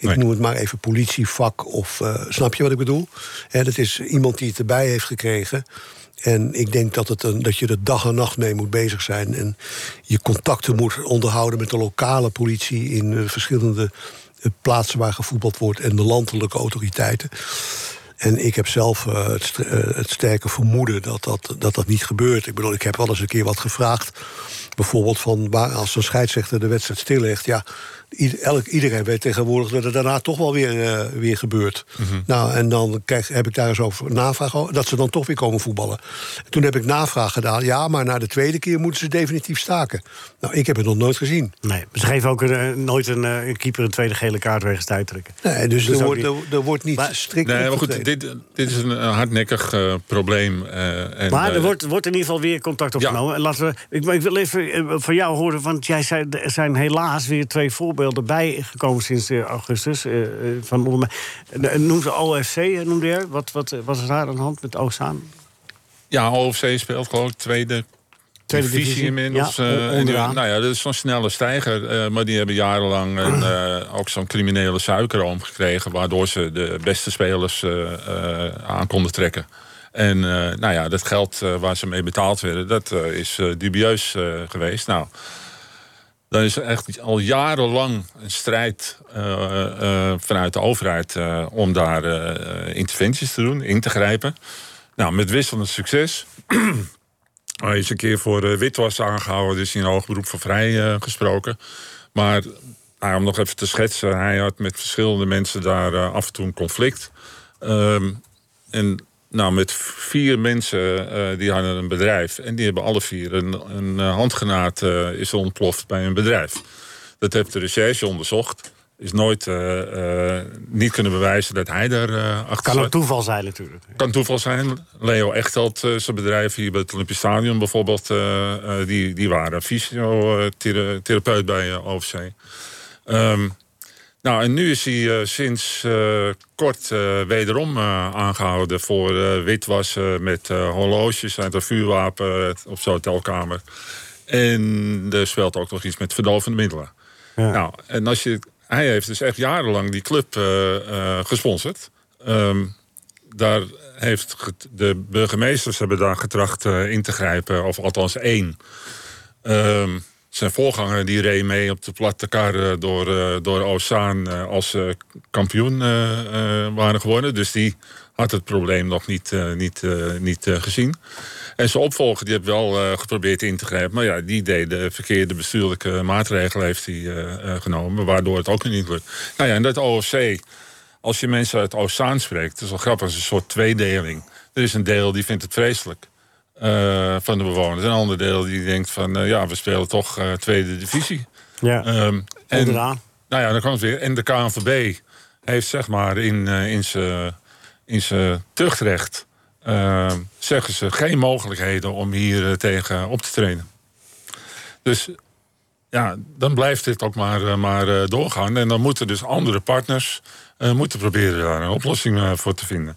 G: Ik
E: Nee.
G: noem het maar even politievak of... eh, snap je wat ik bedoel? Hè, dat is iemand die het erbij heeft gekregen. En ik denk dat, het een, dat je er dag en nacht mee moet bezig zijn. En je contacten moet onderhouden met de lokale politie... in eh, verschillende eh, plaatsen waar gevoetbald wordt... en de landelijke autoriteiten. En ik heb zelf eh, het, st- eh, het sterke vermoeden dat dat, dat dat niet gebeurt. Ik bedoel, ik heb wel eens een keer wat gevraagd. Bijvoorbeeld van waar, als een scheidsrechter de wedstrijd stillegt. Ja, ied- elk, iedereen weet tegenwoordig dat het daarna toch wel weer, eh, weer gebeurt. Nou, en dan krijg, heb ik daar eens over navraag over. Dat ze dan toch weer komen voetballen. Toen heb ik navraag gedaan. Ja, maar na de tweede keer moeten ze definitief staken. Nou, ik heb het nog nooit gezien.
C: Nee, ze geven ook een, eh, nooit een, eh, een keeper een tweede gele kaart wegens tijd trekken.
G: Nee, dus,
C: Dus
G: er,
C: ook
G: wordt,
C: niet.
G: er, er wordt niet
C: Maar-
G: strikt
E: Nee, maar goed,
G: opgetreden.
E: dit, dit is een, een hardnekkig eh, probleem. eh, en,
C: Maar er
E: eh,
C: wordt, wordt in ieder geval weer contact
E: Ja.
C: opgenomen. En Laten we, ik, maar ik wil even eh, van jou horen, want jij zei, er zijn helaas weer twee voorbeelden bijgekomen sinds eh, augustus. eh, eh, van onder, eh, noem ze OFC, eh, noemde je. Wat, wat eh, was er daar aan de hand met Ozaan?
E: Ja, OFC speelt gewoon tweede,
C: Tweede
E: divisie,
C: divisie.
E: inmiddels.
C: Ja,
E: eh,
C: on-
E: en die-
C: onderaan.
E: nou ja, dat is zo'n snelle stijger. eh, maar die hebben
C: (clears throat)
E: jarenlang een, eh, ook zo'n criminele suikeroom gekregen... waardoor ze de beste spelers eh, eh, aan konden trekken. En eh, nou ja, dat geld eh, waar ze mee betaald werden, dat eh, is eh, dubieus eh, geweest. Nou, dan is er echt al jarenlang een strijd eh, eh, vanuit de overheid eh, om daar eh, eh, interventies te doen, in te grijpen. Nou, met wisselend succes. (clears throat) Hij is een keer voor eh, witwas aangehouden, dus in hoog beroep van vrij eh, gesproken. Maar nou, om nog even te schetsen, hij had met verschillende mensen daar eh, af en toe een conflict. Ehm, en nou, met vier mensen eh, die hadden een bedrijf. En die hebben alle vier een, een eh, handgranaat eh, is ontploft bij een bedrijf. Dat heeft de recherche onderzocht. Is nooit eh, eh, niet kunnen bewijzen dat hij daar eh achter
C: Kan
E: zat.
C: ook toeval zijn natuurlijk.
E: Kan toeval zijn. Leo Echtelt, eh, zijn bedrijf hier bij het Olympisch Stadion bijvoorbeeld... eh, eh, die, die waren fysiotherapeut bij eh, OFC. Ehm, nou, en nu is hij eh, sinds eh, kort eh, wederom eh, aangehouden... voor eh, witwassen met eh, horloges uit een vuurwapen eh, op zijn hotelkamer. En er speelt ook nog iets met verdovende middelen. Nou, en als je, hij heeft dus echt jarenlang die club eh, eh, gesponsord... Ehm, daar heeft get- de burgemeesters hebben daar getracht eh, in te grijpen, of althans één. Ehm, zijn voorganger die reed mee op de platte kar eh, door, eh, door Ozaan eh, als ze kampioen eh, eh, waren geworden. Dus die had het probleem nog niet, eh, niet, eh, niet eh, gezien. En zijn opvolger die heeft wel eh, geprobeerd in te grijpen. Maar ja, die deed de verkeerde bestuurlijke maatregelen heeft hij eh, eh, genomen. Waardoor het ook niet lukt. Nou ja, en dat OFC als je mensen uit Oostzaan spreekt, het is wel grappig, het is een soort tweedeling. Er is een deel die vindt het vreselijk eh, van de bewoners. En een ander deel die denkt van, eh, ja, we spelen toch eh, tweede divisie.
C: Ja,
E: Ehm, en, nou
C: onderaan.
E: ja, dan kwam het weer. En de KNVB heeft zeg maar in, eh, in zijn in zijn tuchtrecht eh, zeggen ze geen mogelijkheden om hier eh, tegen op te trainen. Dus ja, dan blijft dit ook maar, eh, maar eh, doorgaan. En dan moeten dus andere partners eh, moeten proberen daar een oplossing eh, voor te vinden. (clears throat)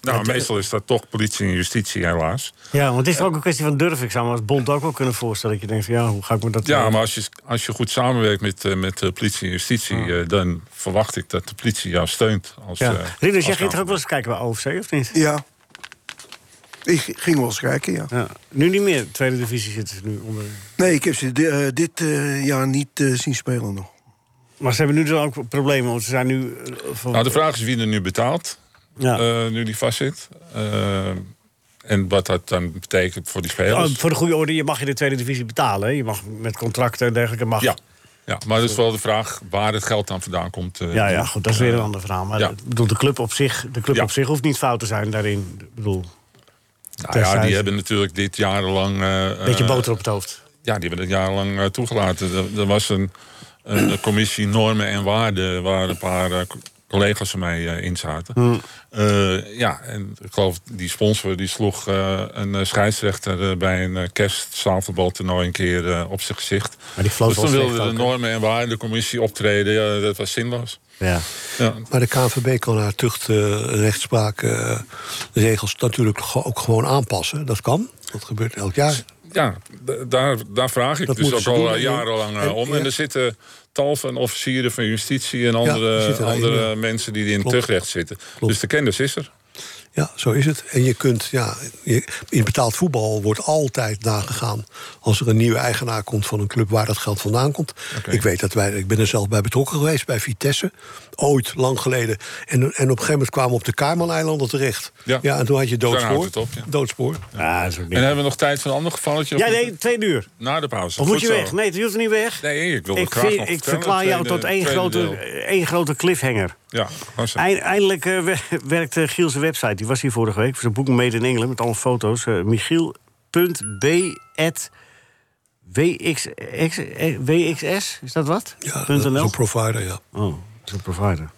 E: nou, meestal is dat toch politie en justitie, helaas.
C: Ja, want het
E: eh,
C: is ook een kwestie van durf. Ik zou me als bond ook wel kunnen voorstellen. Dat je denkt, van, ja, hoe ga ik me dat...
E: Ja, maar als je, als je goed samenwerkt met, eh, met de politie en justitie, eh, dan verwacht ik dat de politie jou steunt. Als,
C: Ja.
E: eh,
C: Rinus, jij
E: als
C: ging toch ook wel eens kijken bij OFC, of niet?
D: Ja. Ik ging wel eens kijken, ja.
C: Ja. Nu niet meer. Tweede divisie zitten ze nu onder.
D: Nee, ik heb ze di- eh, dit eh, jaar niet eh, zien spelen nog.
C: Maar ze hebben nu dus ook problemen, want ze zijn nu... eh, van-
E: Nou, de vraag is wie er nu betaalt,
C: ja.
E: eh, nu die vastzit. Eh, en wat dat dan betekent voor die
C: Oh,
E: spelers.
C: voor de goede orde, je mag in de tweede divisie betalen. hè? Je mag met contracten en dergelijke... Mag...
E: ja. ja, maar dat is wel de vraag waar het geld dan vandaan komt. eh,
C: Ja, ja, goed, dat is weer een ander verhaal. Maar
E: Ja.
C: ik bedoel, de club, op zich, de club
E: Ja.
C: op zich hoeft niet fout te zijn daarin. Ik bedoel,
E: Nou ja,
C: Terzijde.
E: die hebben natuurlijk dit jarenlang... eh,
C: beetje
E: eh,
C: boter op het hoofd.
E: Ja, die hebben het jarenlang eh, toegelaten. Er, er was een, een commissie normen en waarden waar een paar eh, co- collega's van mij eh, in zaten.
C: Hm.
E: Eh, ja, en ik geloof die sponsor die sloeg eh, een eh, scheidsrechter eh, bij een eh, kerstzaalvoetbaltoernooi een keer eh, op zijn gezicht.
C: Maar die floot
E: dus toen
C: wel
E: wilde
C: slecht
E: de
C: ook, hè?
E: normen en waardencommissie optreden. Ja, dat was zinloos.
C: Ja.
E: Ja.
G: Maar de KNVB kan haar eh, tuchtrechtspraakregels eh, natuurlijk ge- ook gewoon aanpassen. Dat kan. Dat gebeurt elk jaar.
E: Ja, d- daar, daar vraag ik
G: Dat
E: dus
G: moeten
E: ook
G: ze doen,
E: al eh,
G: hè?
E: jarenlang eh,
G: En-
E: om.
G: ja.
E: En er zitten tal van officieren van justitie en
G: die
E: andere,
G: zitten daarin,
E: andere
G: ja.
E: mensen die in
G: Klopt.
E: tuchtrecht zitten. Dus de kennis is er.
G: Ja, zo is het. En je kunt, ja, je- in betaald voetbal wordt altijd nagegaan als er een nieuwe eigenaar komt van een club waar dat geld vandaan komt.
E: Oké.
G: Ik weet dat wij, ik ben er zelf bij betrokken geweest bij Vitesse, ooit lang geleden. En, en op een gegeven moment kwamen we op de Cayman-eilanden terecht.
E: Ja.
G: en toen had je
E: Daar houdt
G: doodspoor.
E: het op, ja.
G: Doodspoor.
C: Ja, dat is ook
E: En
C: niet.
E: hebben we nog tijd voor een ander gevalletje? of
C: Ja,
E: moet-
C: nee, twee uur.
E: Na de pauze.
C: Of moet
E: Goed
C: je
E: zo.
C: weg? Nee, je hoeft niet weg.
E: Nee, ik wil het
C: ik,
E: graag
C: vind-
E: nog
C: ik
E: vertellen,
C: verklaar jou
E: tweede-
C: tot één
E: tweede
C: grote,
E: deel.
C: één grote cliffhanger.
E: Ja, was het.
C: Eind- Eindelijk eh, we- werkt eh, Giel zijn website. Die was hier vorige week. Voor zijn boek Made in England met alle foto's. eh Michiel.b.wxs. Is dat wat?
G: Ja, eh,
C: Punt
G: dat is
C: NL?
G: een provider, ja.
C: Oh, dat is een provider.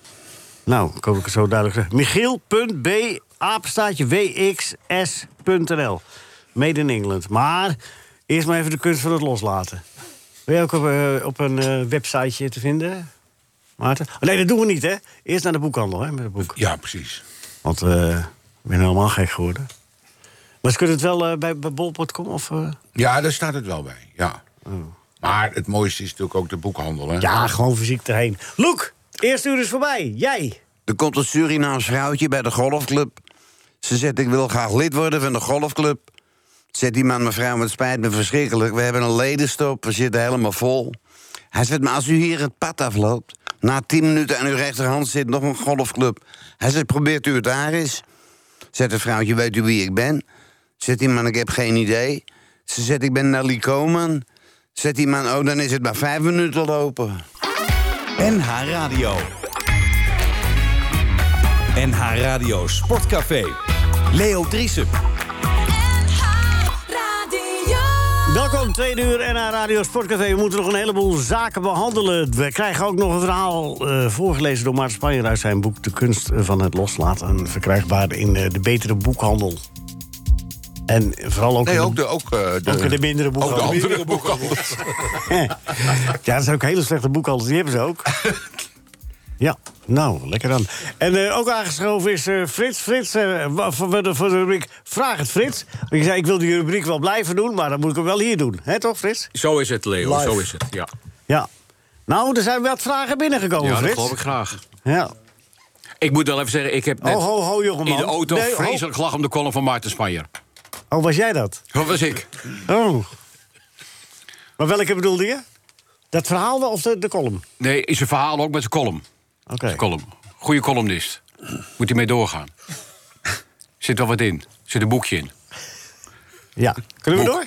C: Nou, ik hoop dat ik het zo duidelijk zeg. Michiel.b. apenstaatje wxs.nl. Made in England. Maar eerst maar even de kunst van het loslaten. Ben je ook op, eh, op een eh, websiteje te vinden, Maarten? Oh, nee, dat doen we niet, hè? Eerst naar de boekhandel, hè, met het boek.
F: Ja, precies.
C: Want eh, ik ben helemaal gek geworden. Maar ze kunnen het wel eh, bij, bij bol.com of... eh?
F: Ja, daar staat het wel bij. Ja. Maar het mooiste is natuurlijk ook de boekhandel. Hè?
C: Oh. Ja, gewoon fysiek erheen. Loek, eerste uur is voorbij. Jij.
I: Er komt een Surinaams vrouwtje bij de golfclub. Ze zegt, ik wil graag lid worden van de golfclub. Zegt die man, mevrouw, het spijt me verschrikkelijk. We hebben een ledenstop, we zitten helemaal vol. Hij zegt, maar als u hier het pad afloopt... na tien minuten aan uw rechterhand zit nog een golfclub. Hij zegt, probeert u het daar eens? Zegt het vrouwtje, weet u wie ik ben? Zegt die man, ik heb geen idee. Ze zegt, ik ben Nelly Koman. Zegt die man, oh, dan is het maar vijf minuten lopen.
B: NH Radio. NH Radio Sportcafé. Leo Driesen.
C: Welkom, tweede uur NH Radio Sportcafé. We moeten nog een heleboel zaken behandelen. We krijgen ook nog een verhaal eh, voorgelezen door Maarten Spanjer uit zijn boek De Kunst van het Loslaten. Verkrijgbaar in eh, de betere boekhandel. En vooral ook,
F: Nee,
C: in de-
F: ook de, ook, eh, de,
C: ook in de mindere
F: ook de
C: boekhandel.
F: andere boekhandels.
C: ja, dat zijn ook hele slechte boekhandels. Die hebben ze ook. ja, nou, lekker dan. En eh, ook aangeschoven is eh, Frits. Frits, eh, wa- voor, voor de, voor de rubriek Vraag het Frits. Want je zei, ik wil die rubriek wel blijven doen, maar dan moet ik hem wel hier doen. hè toch, Frits?
J: Zo is het, Leo.
G: Live.
J: Zo is het. Ja,
C: Ja. Nou, er zijn wat vragen binnengekomen,
J: ja dat
C: Frits.
J: geloof ik graag.
C: Ja.
J: Ik moet wel even zeggen, ik heb net
C: Oh, ho, ho, jongeman.
J: in de auto
C: Nee, oh. ho.
J: vreselijk gelachen om de column van Maarten Spanjer.
C: Oh, was jij dat?
J: Dat was ik.
C: Oh. Maar welke bedoelde je? Dat verhaal wel of de, de column?
J: Nee, is een verhaal ook met zijn column.
C: Oké.
J: Zijn column. Goede columnist. Moet hij mee doorgaan. Zit wel wat in. Zit een boekje in.
C: Ja. Kunnen we
J: Boek.
C: door?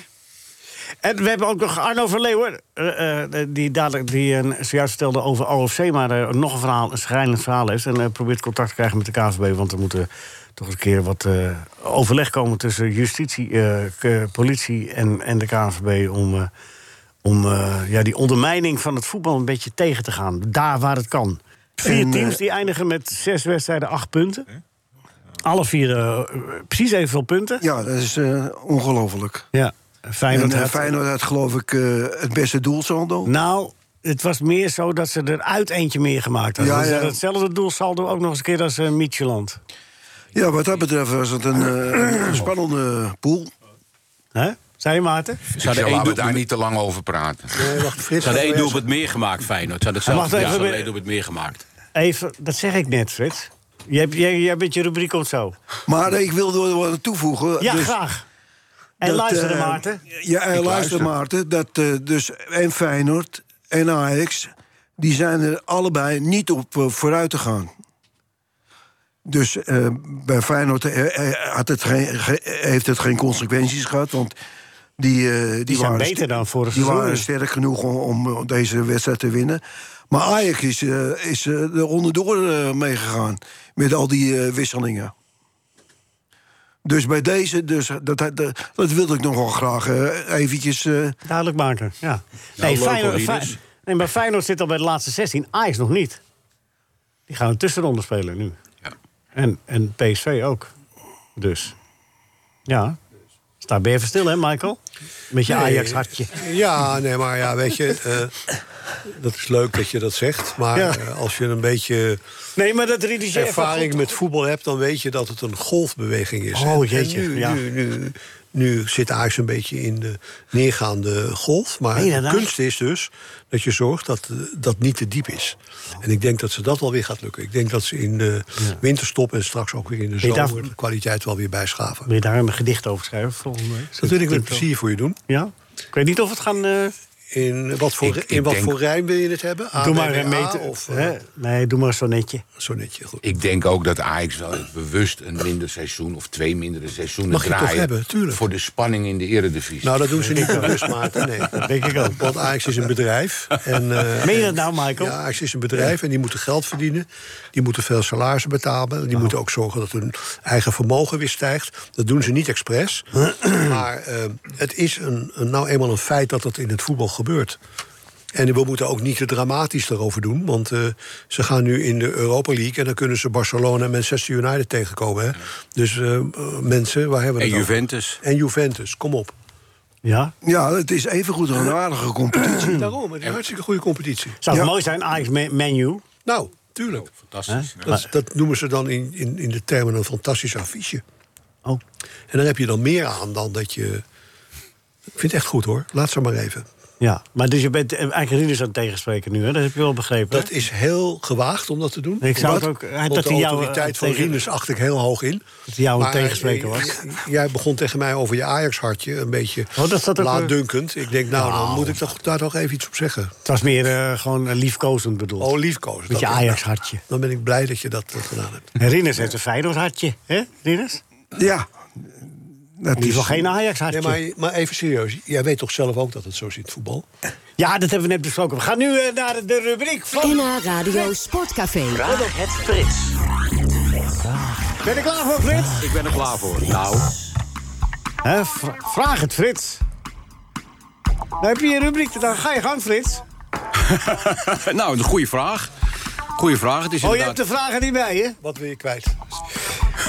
C: En we hebben ook nog Arno van Leeuwen, eh, eh, die, dadelijk, die eh, zojuist vertelde over OFC, maar eh, nog een verhaal, een schrijnend verhaal heeft. En eh, probeert contact te krijgen met de KVB, want er moet eh, toch een keer wat eh, overleg komen tussen justitie, eh, k- politie en, en de KVB om, eh, om eh, ja, die ondermijning van het voetbal een beetje tegen te gaan, daar waar het kan. Vier
D: En, eh,
C: teams die eindigen met zes wedstrijden, acht punten. alle vier eh, precies evenveel punten.
D: Ja, dat is eh, ongelooflijk.
C: Ja,
D: En
C: Feyenoord
D: eh,
C: had-
D: Feyenoord had geloof ik eh, het beste doelsaldo.
C: Nou, het was meer zo dat ze eruit eentje meer gemaakt hadden.
D: Ja,
C: Dus
D: ja.
C: Hetzelfde doelsaldo ook nog eens een keer als eh Micheland.
D: Ja, wat dat betreft was het een, eh, een spannende pool.
C: Hè? Zei je, Maarten?
F: Ik
J: hadden
F: zou
J: één
F: laten we
J: doelpunt
F: daar
J: meer-
F: niet te lang over praten.
G: Nee, wacht, Frits.
J: Ze hadden één
G: gaat
J: doelpunt meer gemaakt, Feyenoord. Ze hadden
C: Hij mag
J: hetzelfde. Ja,
C: er even
J: ze hadden
C: bij-
J: één doelpunt meer gemaakt.
C: Even, dat zeg ik net, Frits. Jij, jij, jij bent je rubriek komt zo.
D: Maar ik wilde er wel aan toevoegen.
C: Ja,
D: dus
C: graag. En
D: dat,
C: luisteren,
D: eh,
C: Maarten.
D: Ja, en luister,
F: luister.
D: Maarten. Dat, eh, dus, en Feyenoord en Ajax, die zijn er allebei niet op eh, vooruit te gaan. Dus eh, bij Feyenoord eh, eh, had het geen, ge- heeft het geen consequenties gehad, want... Die, eh, die,
C: zijn
D: waren
C: beter dan vorig
D: Die
C: seizoen.
D: waren sterk genoeg om, om, eh, deze wedstrijd te winnen. Maar Ajax is, eh, is eh, er onderdoor eh, meegegaan met al die eh, wisselingen. Dus bij deze, dus dat, dat, dat wilde ik nog wel graag eh, eventjes... eh,
C: Duidelijk maken,
G: Nou,
C: ja. Nee,
J: local
C: Feyenoord,
J: leaders.
C: Fey- nee, maar Feyenoord zit al bij de laatste 16. Ajax nog niet. Die gaan een tussenronde spelen nu.
J: Ja.
C: En, en PSV ook. Dus. Ja. Staat ben je even stil, hè, Michael? Met je
G: Nee.
C: Ajax-hartje.
G: Ja, nee, maar ja, weet je, eh, dat is leuk dat je dat zegt. Maar
C: Ja.
G: eh, als je een beetje
C: Nee, maar dat ridigeert wel
G: ervaring
C: goed.
G: met voetbal hebt, dan weet je dat het een golfbeweging is.
C: Oh,
G: En- en
C: jeetje,
G: nu,
C: ja.
G: nu, nu, nu zit Ajax een beetje in de neergaande golf. Maar
C: Meen je
G: de
C: dat?
G: kunst is dus dat je zorgt dat eh, dat niet te diep is. En ik denk dat ze dat wel weer gaat lukken. Ik denk dat ze in de winterstop en straks ook weer in de
C: je daar-
G: zomer de kwaliteit wel weer bijschaven.
C: Wil je daar een gedicht over schrijven volgende week?
G: Dat wil ik met
C: Titel.
G: plezier voor je doen.
C: Ja? Ik weet niet of het gaan... eh,
G: In wat voor,
F: Ik- ik
G: in wat
F: denk-
G: voor rijm wil je het hebben? A,
C: doe
G: B,
C: maar
G: B,
C: een
G: A
C: meter.
G: Of eh,
C: hè? Nee, doe maar een sonnetje.
G: zo netje, goed.
F: Ik denk ook dat Ajax wel eens bewust een minder seizoen of twee mindere seizoenen
G: Mag je toch
F: draaien.
G: hebben, tuurlijk.
F: Voor de spanning in de eredivisie.
G: Nou, dat doen ze niet bewust,
C: (laughs)
G: Maarten. Nee, dat
C: denk ik ook.
G: Want Ajax is een bedrijf. En,
C: (laughs)
G: eh,
C: Meen je dat nou, Michael?
G: Ja, Ajax is een bedrijf en die moeten geld verdienen. Die moeten veel salarissen betalen.
C: Nou.
G: Die moeten ook zorgen dat hun eigen vermogen weer stijgt. Dat doen ze niet
C: (clears throat)
G: expres. maar eh, het is een, een- nou eenmaal een feit dat dat in het voetbal gebeurt. En we moeten ook niet te dramatisch daarover doen. Want eh, ze gaan nu in de Europa League... en dan kunnen ze Barcelona en Manchester United tegenkomen. Hè? Dus eh, mensen, waar hebben we
J: En
G: het over?
J: Juventus.
G: En Juventus, kom op.
C: Ja?
D: ja, het is evengoed een aardige competitie.
G: Daarom, het is een hartstikke goede competitie.
C: Zou het
D: Ja.
C: mooi zijn, Ajax me- menu.
G: Nou, tuurlijk.
J: Fantastisch.
G: Dat, dat noemen ze dan in, in, in de termen een fantastisch affiche.
C: Oh.
G: En dan heb je dan meer aan dan dat je... Ik vind het echt goed hoor, laat ze maar even.
C: Ja, maar dus je bent eh, eigenlijk Rinus aan het tegenspreken nu, hè? Dat heb je wel begrepen. hè?
G: Dat is heel gewaagd om dat te doen.
C: Ik zou het
G: Wat?
C: ook- hij-
G: Want
C: dat
G: de
C: hij jou,
G: autoriteit
C: eh,
G: van
C: tegen-
G: Rinus acht ik heel hoog in.
C: hij jou een
G: Maar, eh,
C: tegenspreker was.
G: j- j- Jij begon tegen mij over je Ajax-hartje. Een beetje
C: Oh, dat zat ook, eh,
G: laatdunkend. Ik denk, nou, dan moet ik toch- daar toch even iets op zeggen.
C: Het was meer eh, gewoon eh, liefkozend bedoeld.
G: Oh, liefkozen.
C: Met je
G: dat-
C: Ajax-hartje.
G: Dan ben ik blij dat je dat eh, gedaan hebt.
C: En Rinus heeft een Feyenoord-hartje, hè, Rinus?
D: Ja. Dat
C: Die is wel
D: is,
C: geen Ajax-hartje.
G: Nee, maar, maar even serieus. Jij weet toch zelf ook dat het zo zit, voetbal?
C: Ja, dat hebben we net besproken. We gaan nu eh, naar de rubriek van...
A: NH Radio Sportcafé.
C: Ben je klaar voor, Frits?
J: Ik ben er klaar voor. Nou,
C: Hè, v- vraag het, Frits. Dan heb je je rubriek, dan ga je gang, Frits.
J: nou een goede vraag. Goeie vraag. Het is
C: Oh, je hebt
J: inderdaad...
C: de vragen niet bij je?
G: Wat wil je kwijt?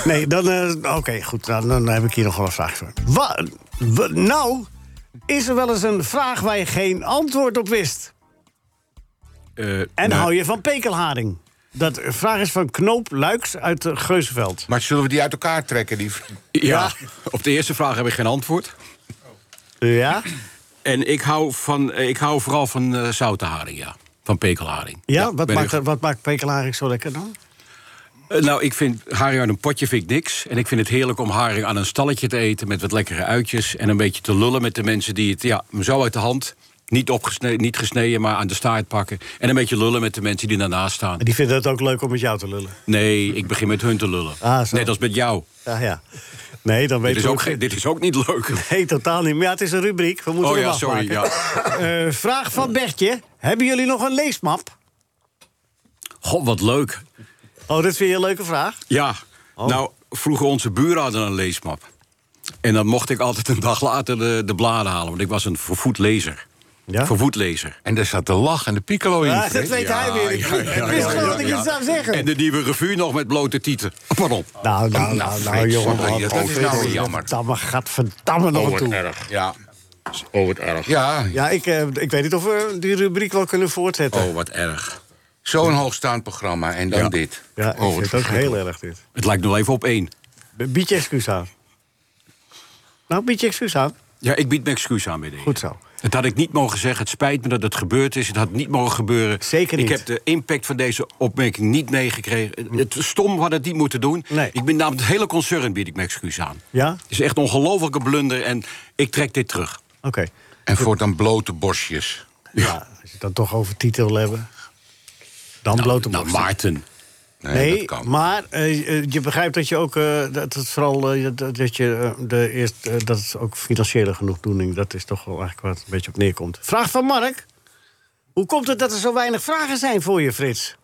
C: Nee, dan... eh, Oké, goed, dan, dan heb ik hier nog wel een vraag voor. Wa- wa- nou, is er wel eens een vraag waar je geen antwoord op wist?
J: eh,
C: En
J: nou,
C: hou je van pekelharing? Dat eh, vraag is van Knoop Luiks uit eh, Geuzenveld.
F: Maar zullen we die uit elkaar trekken? Die...
J: Ja, op de eerste vraag heb ik geen antwoord.
C: Ja?
J: En ik hou, van, eh, ik hou vooral van eh, zoute haring, ja. Van pekelharing.
C: Ja, wat,
J: ben
C: maakt,
J: ik-
C: wat maakt pekelharing zo lekker dan?
J: Eh, Nou, ik vind haring uit een potje vind ik niks. En ik vind het heerlijk om haring aan een stalletje te eten... met wat lekkere uitjes en een beetje te lullen met de mensen die het... ja, zo uit de hand, niet, opgesneden, niet gesneden, maar aan de staart pakken... en een beetje lullen met de mensen die daarnaast staan.
C: Die vinden het ook leuk om met jou te lullen.
J: Nee, ik begin met hun te lullen.
C: Ah, zo.
J: Net als met jou.
C: Ja, ja. Nee, dan weet
J: Dit is,
C: je
J: ook, geen- dit is ook niet leuk.
C: Nee, totaal niet. Maar ja, het is een rubriek. We moeten
J: Oh
C: hem
J: ja, sorry,
C: afmaken. (laughs) Eh, vraag van Bertje. Hebben jullie nog een leesmap?
J: God, wat leuk.
C: Oh, dat vind je een leuke vraag.
J: Ja,
C: Oh.
J: nou, vroeger onze buren hadden een leesmap. En dan mocht ik altijd een dag later de, de bladen halen, want ik was een vervoed lezer.
C: Ja?
J: voor voetlezer.
F: En daar zat de lach en de piccolo in.
C: Ah, dat
F: Fred.
C: weet hij weer. Ik,
J: ja, (laughs) ja,
C: ik wist
J: ja,
C: gewoon
J: ja,
C: dat ik
J: ja.
C: het zou zeggen.
J: En de nieuwe revue nog met blote tieten. Pardon.
C: Nou, nou, nou,
F: Nou,
C: nou,
F: Frits,
C: jongen.
F: wat ben je-
C: man.
F: dat is nou weer jammer. eh.
C: Gadverdamme, gadverdamme nog een toe.
F: Ja.
E: Oh, wat erg.
F: ja,
C: Ja, ik, eh, ik weet niet of we die rubriek wel kunnen voortzetten.
J: Oh, wat erg.
F: zo'n hoogstaand programma en dan dit.
C: ja, ik
F: Oh,
C: vind
F: wat
C: het ook heel erg dit.
J: Het lijkt nog even op één.
C: Bied je excuus aan. Nou, bied je excuus aan.
J: Ja, ik bied mijn excuus aan bij deze.
C: Goed zo.
J: Het had ik niet mogen zeggen. Het spijt me dat het gebeurd is. Het had niet mogen gebeuren.
C: Zeker niet. Hm.
J: Ik heb de impact van deze opmerking niet meegekregen. Het het stom had het niet moeten doen.
C: Nee.
J: Ik ben namelijk het hele concern bied ik mijn excuus aan.
C: Ja?
J: Het is echt een ongelofelijke blunder en ik trek dit terug.
C: Oké.
F: En voortaan blote borstjes.
C: Ja, als je het dan toch over titel wil hebben. Dan blote
J: Nou,
C: borst.
J: Maarten.
F: Nee,
C: Nee,
F: dat kan.
C: maar eh, eh, je begrijpt dat je ook eh, dat het vooral eh, dat, dat je eh, de eerst eh, dat is ook financiële genoegdoening. Dat is toch wel eigenlijk wat een beetje op neerkomt. Vraag van Mark. Hoe komt het dat er zo weinig vragen zijn voor je, Frits?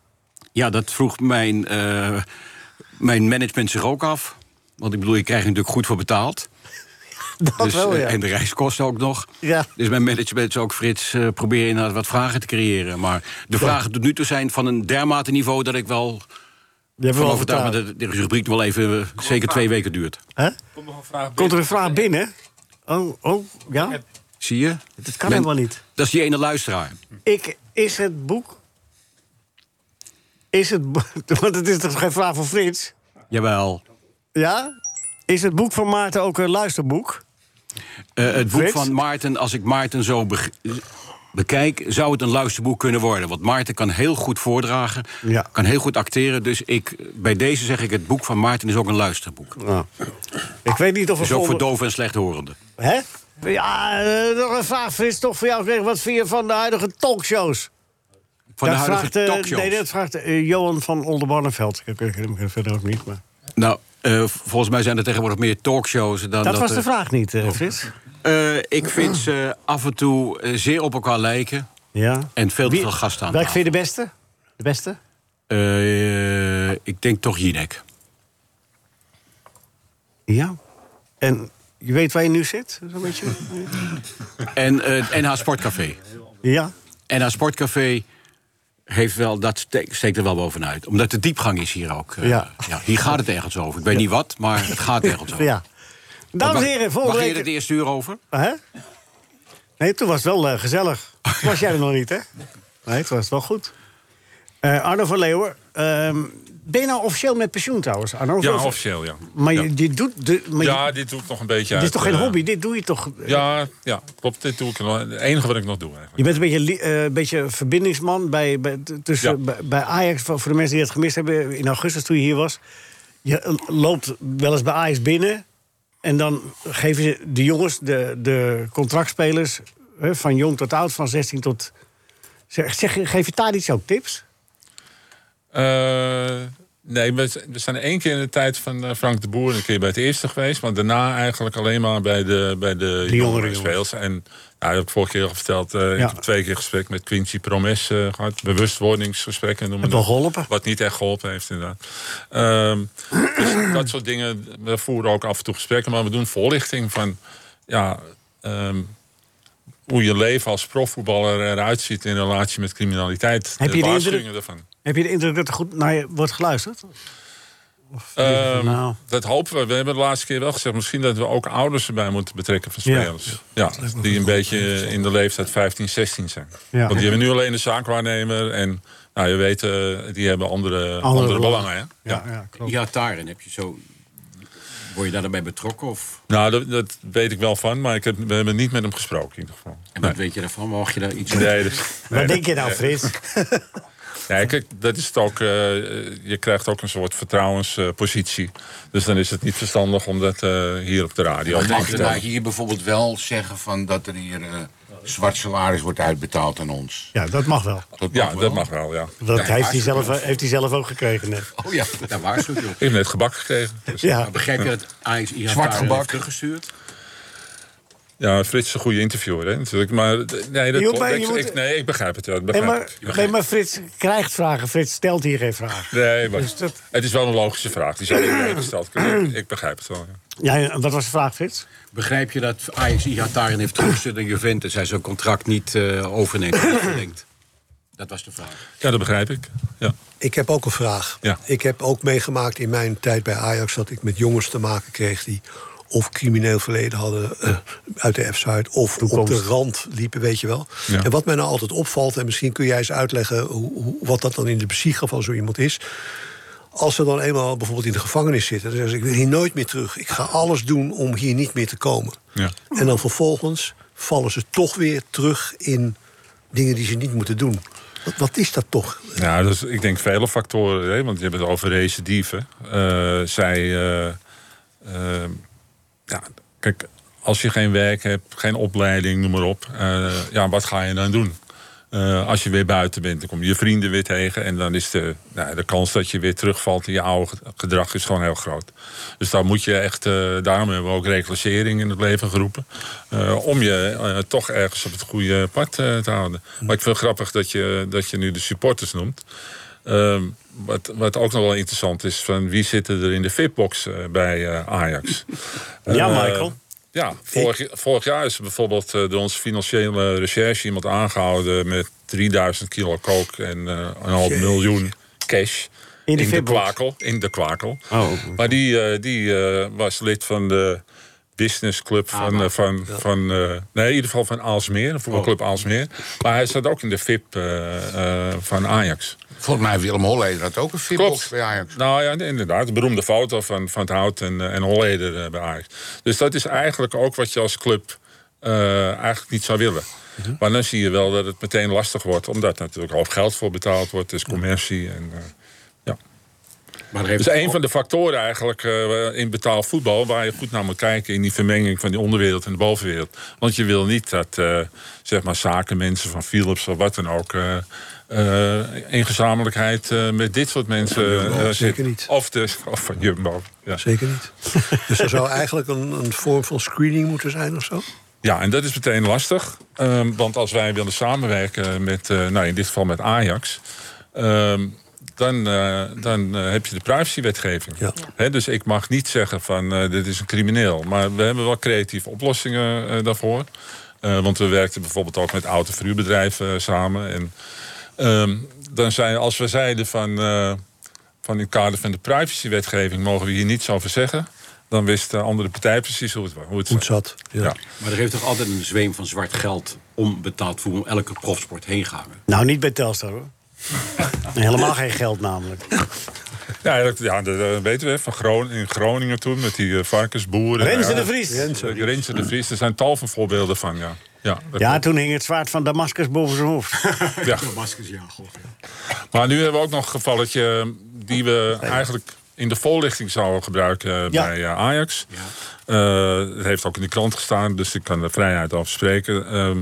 J: Ja, dat vroeg mijn, eh, mijn management zich ook af. Want ik bedoel, je krijgt er natuurlijk goed voor betaald.
C: Dat
J: Dus,
C: wel,
J: eh,
C: ja.
J: En de reiskosten ook nog.
C: Ja.
J: Dus mijn management zou ook Frits eh, proberen inderdaad wat vragen te creëren. Maar de vragen tot nu toe zijn van een dermate niveau dat ik wel
C: Je hebt
J: van
C: wel
J: overtuigd
C: overtuigd.
J: ben dat de rubriek wel even eh, zeker twee weken duurt.
C: Hè?
E: Komt nog een vraag
C: Komt er een
E: binnen.
C: vraag binnen? Oh, oh ja?
J: Zie je?
C: Dat kan
J: Men-
C: helemaal niet.
J: Dat is die ene luisteraar.
C: Ik, is het boek. Is het. bo- (laughs) Want het is toch geen vraag van Frits?
J: Jawel.
C: Ja? Is het boek van Maarten ook een luisterboek?
J: Eh, het boek
C: Frits?
J: van Maarten, als ik Maarten zo beg- bekijk, zou het een luisterboek kunnen worden. Want Maarten kan heel goed voordragen,
C: Ja.
J: kan heel goed acteren. Dus ik, bij deze zeg ik, het boek van Maarten is ook een luisterboek.
C: Ik weet niet of
J: Dus ook
C: er
J: voor
C: volgende-
J: doven en slechthorenden.
C: Hè? Ja, eh, nog een vraag, Frits, toch voor jou. Zeg, Wat vind je van de huidige talkshows?
J: Van de
C: Dat
J: huidige
C: vraagt, eh,
J: talkshows.
C: Nee, dat vraagt eh, Johan van Oldenbarneveld. Ik ken hem verder ook niet, maar...
J: Nou, eh, volgens mij zijn er tegenwoordig meer talkshows dan dat. Oh.
C: Dat, was
J: er-
C: de vraag niet, eh, Frits.
J: Eh, ik vind ze af en toe eh, zeer op elkaar lijken.
C: Ja.
J: En veel te
C: Wie-
J: veel gasten aan
C: Welke
J: tafel.
C: vind je de beste? De beste?
J: Eh, ik denk toch Jinek.
C: Ja. En je weet waar je nu zit? Zo'n beetje?
J: (laughs) En eh, het NH Sportcafé.
C: ja.
J: NH Sportcafé heeft wel, dat ste- steekt er wel bovenuit. Omdat de diepgang is hier ook. eh,
C: Ja.
J: ja. hier gaat het ergens over. Ik weet niet wat, maar het gaat ergens over.
C: ja. Dames en heren, volgende
J: Mag je
C: week...
J: er het eerste uur over?
C: Hè? Nee, toen was het wel eh, gezellig. Toen was jij er nog niet, hè? Nee, toen was het wel goed. Eh, Arno van Leeuwen, ehm, ben je nou officieel met pensioen trouwens, Arno?
E: Ja,
C: Of-
E: officieel, ja.
C: Maar
E: ja.
C: je, je doet... De, maar je-
E: Ja, dit doe ik nog een beetje
C: dit is
E: uit,
C: toch geen
E: eh,
C: hobby? Dit doe je toch... eh,
E: Ja, ja, klopt. Dit doe ik nog. Het enige wat ik nog doe eigenlijk.
C: Je bent een beetje, li- eh, een beetje verbindingsman bij, bij, t- tussen,
E: Ja.
C: bij, bij Ajax. Voor voor de mensen die het gemist hebben, in augustus toen je hier was... je eh, loopt wel eens bij Ajax binnen... en dan geven ze de jongens, de, de contractspelers... hè, van jong tot oud, van 16 tot... Zeg, zeg, geef je daar iets ook tips?
E: Eh, nee, we, z- we zijn één keer in de tijd van eh, Frank de Boer een keer bij het eerste geweest. Maar daarna eigenlijk alleen maar bij de, bij de,
C: De jongere
E: jongere speels. En nou, dat heb ik vorige keer al verteld. eh,
C: Ja.
E: Ik heb twee keer gesprek met Quincy Promes eh, gehad. Bewustwordingsgesprekken noemen
C: Heb wel geholpen.
E: Wat niet echt geholpen heeft, inderdaad. Ehm,
C: (clears throat)
E: dus dat soort dingen. We voeren ook af en toe gesprekken. Maar we doen voorlichting van... Ja, ehm, hoe je leven als profvoetballer eruit ziet in relatie met criminaliteit.
C: Heb je de
E: waarschuwingen daarvan.
C: Heb je de indruk dat er goed naar je wordt geluisterd?
E: Ehm,
C: Nou.
E: Dat hopen we. We hebben de laatste keer wel gezegd... misschien dat we ook ouders erbij moeten betrekken van spelers. Ja, die een beetje in de leeftijd 15, 16 zijn.
C: Ja.
E: Want die hebben nu alleen de zaakwaarnemer. En nou, je weet, eh, die hebben andere, andere, belangen. hè? Ja.
C: ja, klopt.
J: Ja, daarin heb je zo... Word je daarbij betrokken? Of,
E: Nou, dat, dat weet ik wel van. Maar ik heb, we hebben niet met hem gesproken in ieder geval.
J: en wat weet je daarvan? Mag je daar iets
E: Nee, dus-
C: Wat denk je nou, Frits?
E: nee, kijk, dat is het ook. eh, je krijgt ook een soort vertrouwenspositie. dus dan is het niet verstandig om dat eh, hier op de radio te
F: Mag je nou
E: vertellen.
F: hier bijvoorbeeld wel zeggen van dat er hier eh, zwart salaris wordt uitbetaald aan ons?
C: Ja, dat mag wel.
F: Dat
E: Ja,
F: wel.
E: dat mag wel, ja.
C: Dat heeft, hij
F: hartstikke
C: zelf, eh, heeft hij zelf ook gekregen net.
J: Oh ja, daar waarschuw je.
E: Ik heb net gebak gekregen. Dus.
C: Ja.
J: Begrijp je dat Ajax
F: Zwart
J: Iataren
F: gebak.
J: heeft teruggestuurd?
E: Ja, Frits is een goede interviewer, hè, natuurlijk. Maar d- nee, dat
C: Je hoeft
E: klopt.
C: mij- je
E: ik,
C: moet-
E: ik- nee, ik begrijp het wel. Ik
C: Nee
E: begrijp
C: maar,
E: het. Ik begrijp
C: nee,
E: het.
C: maar Frits krijgt vragen. Frits stelt hier geen vragen.
E: Nee, maar
C: Dus dat-
E: het is wel een logische vraag. Die zou iedereen gesteld kunnen worden. Ik begrijp het wel. ja.
C: Ja, en wat was de vraag, Frits?
J: Begrijp je dat Ajax Iataren heeft teruggestuurd aan Juventus... hij zijn contract niet eh, (coughs) overneemt, niet verlengt? Dat was de vraag.
E: Ja, dat begrijp ik. Ja.
G: Ik heb ook een vraag.
E: Ja.
G: Ik heb ook meegemaakt in mijn tijd bij Ajax dat ik met jongens te maken kreeg die of crimineel verleden hadden eh, uit de F-site of op de rand liepen, weet je wel.
E: Ja.
G: En wat mij nou altijd opvalt, en misschien kun jij eens uitleggen hoe, hoe- wat dat dan in de psyche van zo iemand is. Als ze dan eenmaal bijvoorbeeld in de gevangenis zitten, dan zeggen ze: Ik wil hier nooit meer terug. Ik ga alles doen om hier niet meer te komen.
E: Ja.
G: En dan vervolgens vallen ze toch weer terug in dingen die ze niet moeten doen. Wat, wat is dat toch?
E: Nou, dus ik denk vele factoren, hè, want je hebt het over recidieven. Eh, zij, eh, eh, ja, kijk, als je geen werk hebt, geen opleiding, noem maar op, eh, ja, wat ga je dan doen? Eh, als je weer buiten bent, dan kom je je vrienden weer tegen. En dan is de, nou, de kans dat je weer terugvalt in je oude ge- gedrag is gewoon heel groot. Dus daar moet je echt, eh, daarom hebben we ook reclassering in het leven geroepen. eh, om je eh, toch ergens op het goede pad eh, te houden. Maar ik vind het grappig dat je, dat je nu de supporters noemt. Ehm, wat, wat ook nog wel interessant is, van wie zitten er in de VIP-box eh, bij eh, Ajax?
C: Ja,
E: Eh,
C: Michael.
E: Ja, vorig, vorig jaar is er bijvoorbeeld eh, door onze financiële recherche iemand aangehouden met 3000 kilo kook en eh, een half miljoen cash.
C: In de Oh, VIP-box.
E: kwakel. In de kwakel. Maar die, eh, die eh, was lid van de businessclub
C: Ah,
E: van, eh, van, van eh, nee, in ieder geval van Aalsmeer, de voetbalclub
C: Oh.
E: Aalsmeer. Maar hij zat ook in de VIP eh, eh, van Ajax.
F: Volgens mij Willem Holleder had ook een fitbox
E: Klopt.
F: bij Ajax.
E: Nou ja, inderdaad. De beroemde foto van, van het Hout en, eh, en Holleder eh, bij Ajax. Dus dat is eigenlijk ook wat je als club eh, eigenlijk niet zou willen. Maar dan zie je wel dat het meteen lastig wordt. Omdat er natuurlijk al geld voor betaald wordt. Dus commercie. En, eh, ja.
J: Maar er
E: Dat
J: heeft
E: is een van de factoren eigenlijk eh, in betaald voetbal... waar je goed naar moet kijken in die vermenging van die onderwereld en de bovenwereld. Want je wil niet dat eh, zeg maar zakenmensen van Philips of wat dan ook... eh, eh, in gezamenlijkheid eh, met dit soort mensen eh,
G: Zeker
E: zitten.
G: niet.
E: Of, de, of van Jumbo. Ja.
G: Zeker niet. (laughs) dus er zou eigenlijk een, een vorm van screening moeten zijn of zo?
E: Ja, en dat is meteen lastig. Ehm, want als wij willen samenwerken met, eh, nou in dit geval met Ajax. ehm, dan, eh, dan eh, heb je de privacywetgeving.
G: Ja.
E: Hè, dus ik mag niet zeggen van eh, dit is een crimineel. Maar we hebben wel creatieve oplossingen eh, daarvoor. Eh, want we werkten bijvoorbeeld ook met auto- en verhuurbedrijven eh, samen. En ehm, dan zei, als we zeiden van, eh, van in het kader van de privacywetgeving mogen we hier niets over zeggen. Dan wist de andere partij precies hoe het, wa- hoe het
G: Goed
E: zat.
G: zat. Ja.
E: Ja.
J: Maar er heeft toch altijd een zweem van zwart geld om betaald voetbal elke profsport heen gehangen.
C: Nou, niet bij Telstar,
E: (laughs)
C: hoor. Nee, helemaal geen geld, namelijk.
E: Ja, dat, ja, dat eh, weten we. Van Gron- in Groningen toen met die eh, varkensboeren.
C: Renze
E: Ja,
C: de Vries.
E: Renze. Renze de Vries. Er zijn tal van voorbeelden van, ja. Ja, dat
C: Ja,
E: klopt.
C: toen hing het zwaard van Damascus boven zijn hoofd. (laughs)
E: ja.
J: Damascus, ja, god.
E: Maar nu hebben we ook nog een gevalletje eh, die we eigenlijk in de voorlichting zouden gebruiken eh,
C: Ja.
E: bij eh, Ajax. Eh, het heeft ook in de krant gestaan, dus ik kan er vrijheid over spreken. Ehm,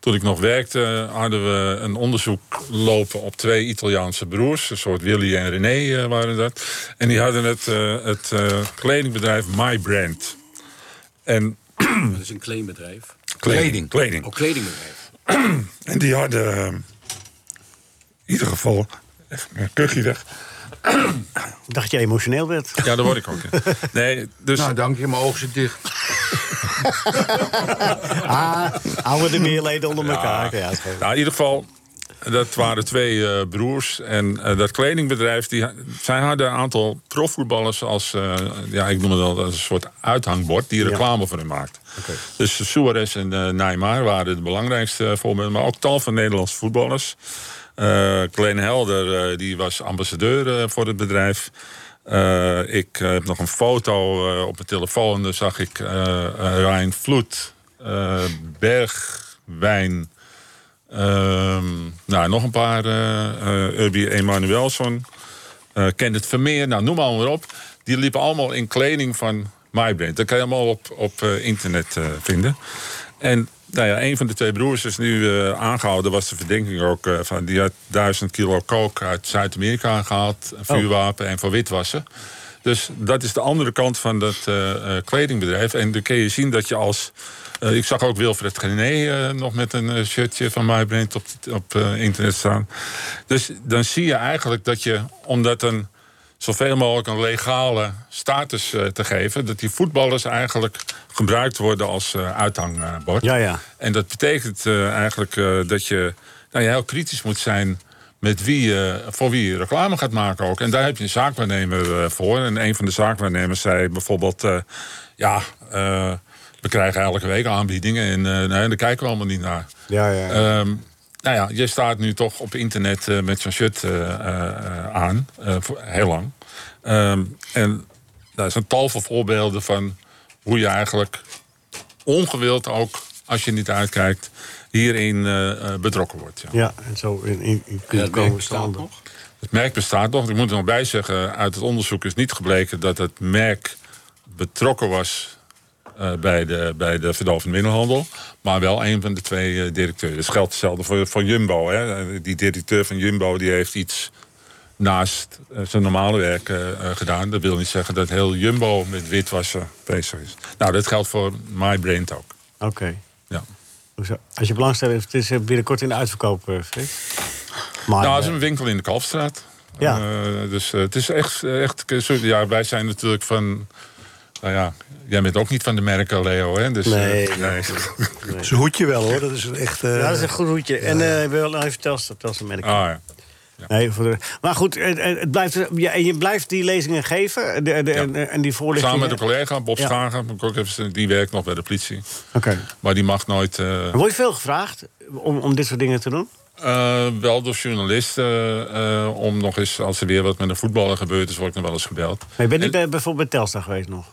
E: toen ik nog werkte, hadden we een onderzoek lopen op twee Italiaanse broers. Een soort Willy en René eh, waren dat. En die hadden het, eh, het eh, kledingbedrijf My Brand. En
J: Dat is een claimbedrijf.
E: kleding. kleding.
J: Ook kledingbedrijf.
E: En die hadden eh, in ieder geval... Even mijn kuchje weg.
C: Dacht je emotioneel werd. (laughs)
E: Ja, daar word ik ook. (laughs) in. Nee, dus
F: Nou, dank je, mijn ogen zitten dicht.
C: Ah, houden de meerleden onder elkaar. Ja, zo.
E: Nou, in ieder geval, dat waren twee eh, broers. En eh, dat kledingbedrijf, die, ha- zij hadden een aantal profvoetballers als, eh, ja, ik noem het wel als een soort uithangbord, die reclame voor hen maakt. Dus Suarez en eh, Neymar waren de belangrijkste voorbeelden, maar ook tal van Nederlandse voetballers. Eh Glenn Helder, eh, die was ambassadeur eh, voor het bedrijf. Eh, ik eh, heb nog een foto eh, op mijn telefoon. Daar zag ik eh eh, Rijn Vloed, eh, Bergwijn, Ehm, nou, nog een paar. eh eh Urbi Emanuelson. eh Kenneth Vermeer. Nou, noem allemaal maar op. Die liepen allemaal in kleding van MyBrand. Dat kan je allemaal op, op eh, internet eh, vinden. En nou ja, een van de twee broers is nu eh, aangehouden. was de verdenking ook eh, van. Die had duizend kilo kook uit Zuid-Amerika gehaald. Een vuurwapen en voor witwassen. Dus dat is de andere kant van dat eh, eh, kledingbedrijf. En dan kun je zien dat je als... eh, ik zag ook Wilfred Gené eh, nog met een eh, shirtje van MyBrand op, op eh, internet staan. Dus dan zie je eigenlijk dat je, omdat een zoveel mogelijk een legale status eh, te geven... dat die voetballers eigenlijk gebruikt worden als eh, uithangbord.
C: Ja, ja.
E: En dat betekent eh, eigenlijk eh, dat je, nou, je heel kritisch moet zijn met wie, je- voor wie je reclame gaat maken ook. En daar heb je een zaakwaarnemer eh, voor. En een van de zaakwaarnemers zei bijvoorbeeld... eh, ja, eh, we krijgen elke week aanbiedingen en eh, nee, daar kijken we allemaal niet naar.
C: Ja, ja.
E: Ehm, nou ja, je staat nu toch op internet eh, met zo'n shirt eh, eh, eh, aan, eh, voor- heel lang. Ehm, en daar zijn tal van voorbeelden van hoe je eigenlijk ongewild ook, als je niet uitkijkt, hierin eh, eh, betrokken wordt. Ja.
C: Ja, en zo in, in, in komen staan.
E: Het merk bestaat nog. Ik moet er nog bij zeggen, uit het onderzoek is niet gebleken dat het merk betrokken was eh, bij, de, bij de verdovende middelhandel. Maar wel een van de twee eh, directeuren. Dat geldt hetzelfde voor, voor Jumbo. Hè. Die directeur van Jumbo die heeft iets naast eh, zijn normale werk eh, eh, gedaan. Dat wil niet zeggen dat heel Jumbo met witwassen bezig is. Nou, dat geldt voor MyBrain ook.
C: Oké.
E: Ja.
C: Hoezo? Als je belangstelling hebt, het is eh, binnenkort in de uitverkoop, eh, Freek. Maar,
E: nou, het is
C: eh,
E: een winkel in de Kalfstraat.
C: Ja.
E: Eh, dus eh, het is echt... echt eh, sorry, ja, wij zijn natuurlijk van... Nou ja, jij bent ook niet van de merken, Leo, hè? Dus, eh,
C: Nee,
E: (laughs) nee.
G: Zijn hoedje wel hoor, dat is een echt... eh,
C: ja, dat is een goed hoedje. En eh wel even Telstra, Telstra merk.
E: Ah, ja.
C: Nee, voor de- maar goed, het, het het blijft, ja, en je blijft die lezingen geven de, de, en, en die voorlichting.
E: Samen met een collega, Bob
C: Ja.
E: Schager, moet ik ook even zeggen, die werkt nog bij de politie.
C: Oké.
E: Maar die mag nooit... eh,
C: Word je veel gevraagd om, om dit soort dingen te doen?
E: eh, wel door journalisten, eh, om nog eens, als er weer wat met een voetballer gebeurt, is, word ik nog wel eens gebeld.
C: Nee, ben je
E: En-
C: niet bij, bijvoorbeeld bij Telstra geweest nog?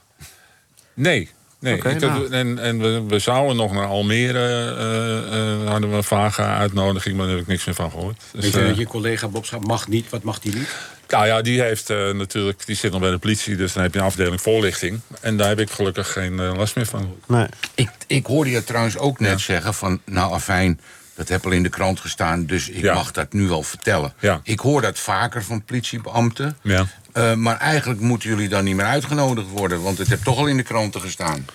E: Nee. Nee,
C: Oké,
E: Ik had-
C: nou.
E: en, en we, we zouden nog naar Almere, eh, eh, hadden we een vage uitnodiging, maar daar heb ik niks meer van gehoord. Dus,
J: Weet je
E: eh,
J: dat je collega Bob Schaap mag niet, wat mag die niet?
E: nou ja, die, heeft, eh, natuurlijk, die zit nog bij de politie, dus dan heb je een afdeling voorlichting. En daar heb ik gelukkig geen eh, last meer van.
C: Nee.
F: Ik, ik hoorde je trouwens ook net zeggen van... nou, afijn, dat heb al in de krant gestaan... dus ik
E: Ja.
F: mag dat nu wel vertellen.
E: Ja.
F: Ik hoor dat vaker van politiebeambten.
E: Ja.
F: Eh, maar eigenlijk moeten jullie dan niet meer uitgenodigd worden... want het heeft toch al in de kranten gestaan.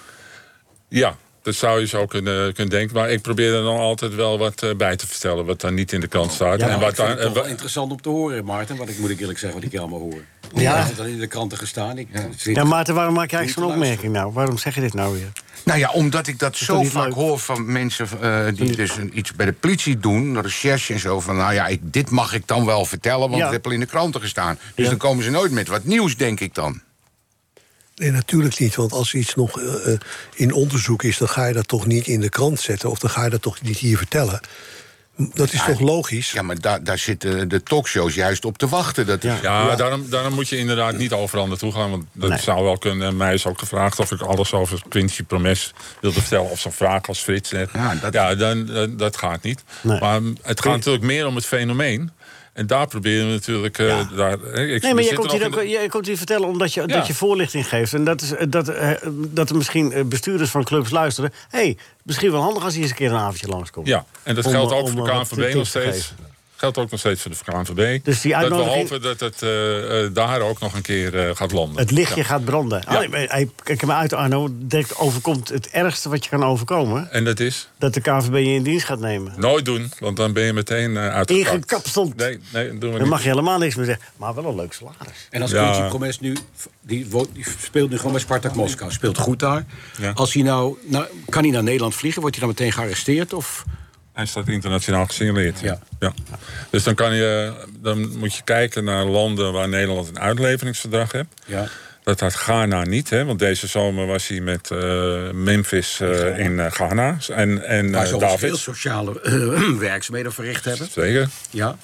E: Ja, dat zou je zo kunnen, kunnen denken. Maar ik probeer er dan altijd wel wat eh, bij te vertellen, wat dan niet in de krant staat. en wat
J: Nou, Ik vind
E: daar, eh,
J: het toch
E: en wa-
J: wel interessant om te horen, Maarten. Wat ik moet ik eerlijk zeggen, wat ik allemaal hoor.
C: Ja.
J: Ja. Dat in de kranten gestaan. Ik, zit-
C: Ja, Maarten, waarom maak je
J: Niet
C: eigenlijk
J: te
C: zo'n opmerking nou? Waarom zeg je dit nou weer?
F: Nou ja, omdat ik dat
C: toch
F: zo
C: niet
F: vaak
C: leuk?
F: hoor van mensen eh, die dus een- iets bij de politie doen, recherche en zo. Van nou ja, ik, dit mag ik dan wel vertellen, want
C: Ja.
F: het heb al in de kranten gestaan. Dus
C: Ja.
F: dan komen ze nooit met wat nieuws, denk ik dan.
G: Nee, natuurlijk niet. Want als iets nog eh, eh, in onderzoek is, dan ga je dat toch niet in de krant zetten. Of dan ga je dat toch niet hier vertellen. Dat is toch logisch?
F: Ja, maar daar daar zitten de talkshows juist op te wachten. Dat is-
E: Ja, Daarom, daarom moet je inderdaad niet overal naartoe gaan. Want dat zou wel kunnen. En Mij is ook gevraagd of ik alles over Quincy Promes wilde vertellen. Of zo'n vraag als Frits. net.
F: Ja, dat-
E: ja dan, dan- dat gaat niet.
C: Nee.
E: Maar mm, het gaat natuurlijk meer om het fenomeen. En daar proberen we natuurlijk... eh, daar, ik,
C: Nee,
E: we
C: maar je
E: zitten
C: komt,
E: nog
C: hier
E: in
C: ook,
E: de-
C: je komt hier vertellen omdat je,
E: Ja.
C: dat je voorlichting geeft. En dat, is, eh, dat, eh, dat er misschien eh, bestuurders van clubs luisteren. Hé, hey, misschien wel handig als hij eens een keer een avondje langskomt.
E: Ja, en dat
C: Om-
E: geldt ook
C: om
E: voor de
C: wat tips
E: KNVB nog
C: te
E: steeds.
C: geven.
E: Geldt ook nog steeds voor de KNVB.
C: Dus die
E: Dat we
C: uitnodiging-
E: hopen dat het eh, eh, daar ook nog een keer eh, gaat landen.
C: Het lichtje
E: Ja.
C: gaat branden.
E: Ja.
C: Ah, nee, hey, kijk maar uit, Arno. Direct overkomt het ergste wat je kan overkomen.
E: En dat is
C: Dat de KVB je in dienst gaat nemen.
E: nooit doen, want dan ben je meteen eh uitgekakt.
C: Ingekapseld.
E: Nee, nee, dat doen we
C: Dan
E: niet.
C: mag je helemaal niks meer zeggen. Maar wel een leuk salaris.
J: En als
E: Ja.
J: Quincy Promes nu, die, wo- die speelt nu gewoon bij Spartak Moskou, speelt goed daar.
E: Ja.
J: Als hij nou, nou, kan hij naar Nederland vliegen? Wordt hij dan meteen gearresteerd? Of
E: Hij staat internationaal gesignaleerd.
J: Ja.
E: ja. Dus dan, kan je, dan moet je kijken naar landen waar Nederland een uitleveringsverdrag heeft.
J: Ja.
E: Dat had Ghana niet, hè? want deze zomer was hij met eh, Memphis eh, in eh, Ghana. En, en
J: waar
E: eh,
J: ze al veel
E: David.
J: sociale eh, (clears throat) werkzaamheden verricht hebben?
E: Zeker.
J: Ja.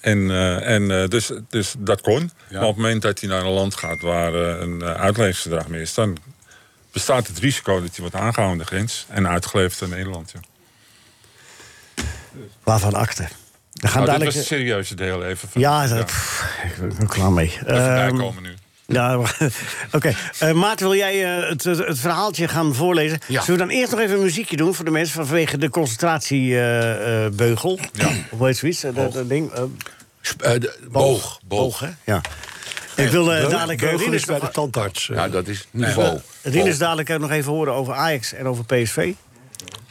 E: En, eh, en eh, dus, dus dat kon.
J: Ja.
E: Maar op het moment dat hij naar een land gaat waar eh, een eh, uitleveringsverdrag mee is, dan bestaat het risico dat hij wordt aangehouden aan de grens en uitgeleverd aan Nederland. Ja.
C: Waarvan akte? We gaan
E: Nou, dit
C: dadelijk...
E: was het serieuze deel even. Van,
C: ja, dat, pff, ik ben er klaar mee.
E: even
C: Ehm,
E: bijkomen nu.
C: ja, (laughs) oké. Eh, Maarten, wil jij eh, het, het, het verhaaltje gaan voorlezen?
F: Ja.
C: Zullen we dan eerst nog even een muziekje doen voor de mensen vanwege de concentratiebeugel? ja. Of weet je zoiets? eh, Dat, dat ding. eh,
F: Sp- eh, de- boog.
C: boog, hè? Ja. Ik wil eh,
G: Beugel-
C: dadelijk eh,
G: Beugel
C: Rinus
G: is bij de
C: nog-
G: tandarts. eh.
F: Nou, dat is niveau.
C: Rinus dadelijk ook nog even horen over Ajax en over PSV.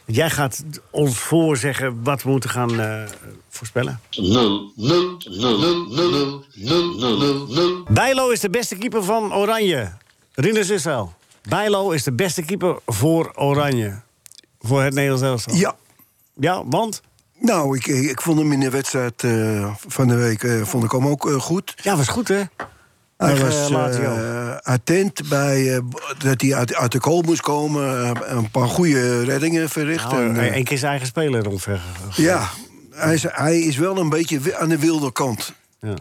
C: Jij gaat ons voorzeggen wat we moeten gaan eh, voorspellen.
K: 0 0 0 0 0 0 0 0
C: Bijlo is de beste keeper van Oranje. Rinus Israël. Bijlo is de beste keeper voor Oranje. Voor het Nederlands elftal.
D: Ja,
C: Ja, want?
D: nou, ik, ik ik vond hem in de wedstrijd eh, van de week eh, vond ik hem ook eh, goed.
C: Ja, was goed, hè?
D: Hij
C: Tegen
D: was
C: Lazio.
D: eh, attent bij eh, dat hij uit, uit de kool moest komen. eh, een paar goede reddingen verricht.
C: Nou,
D: en, eh,
C: Eén keer zijn eigen speler omver.
D: ja, hij is, hij is wel een beetje wi- aan de wilde kant.
C: Ja.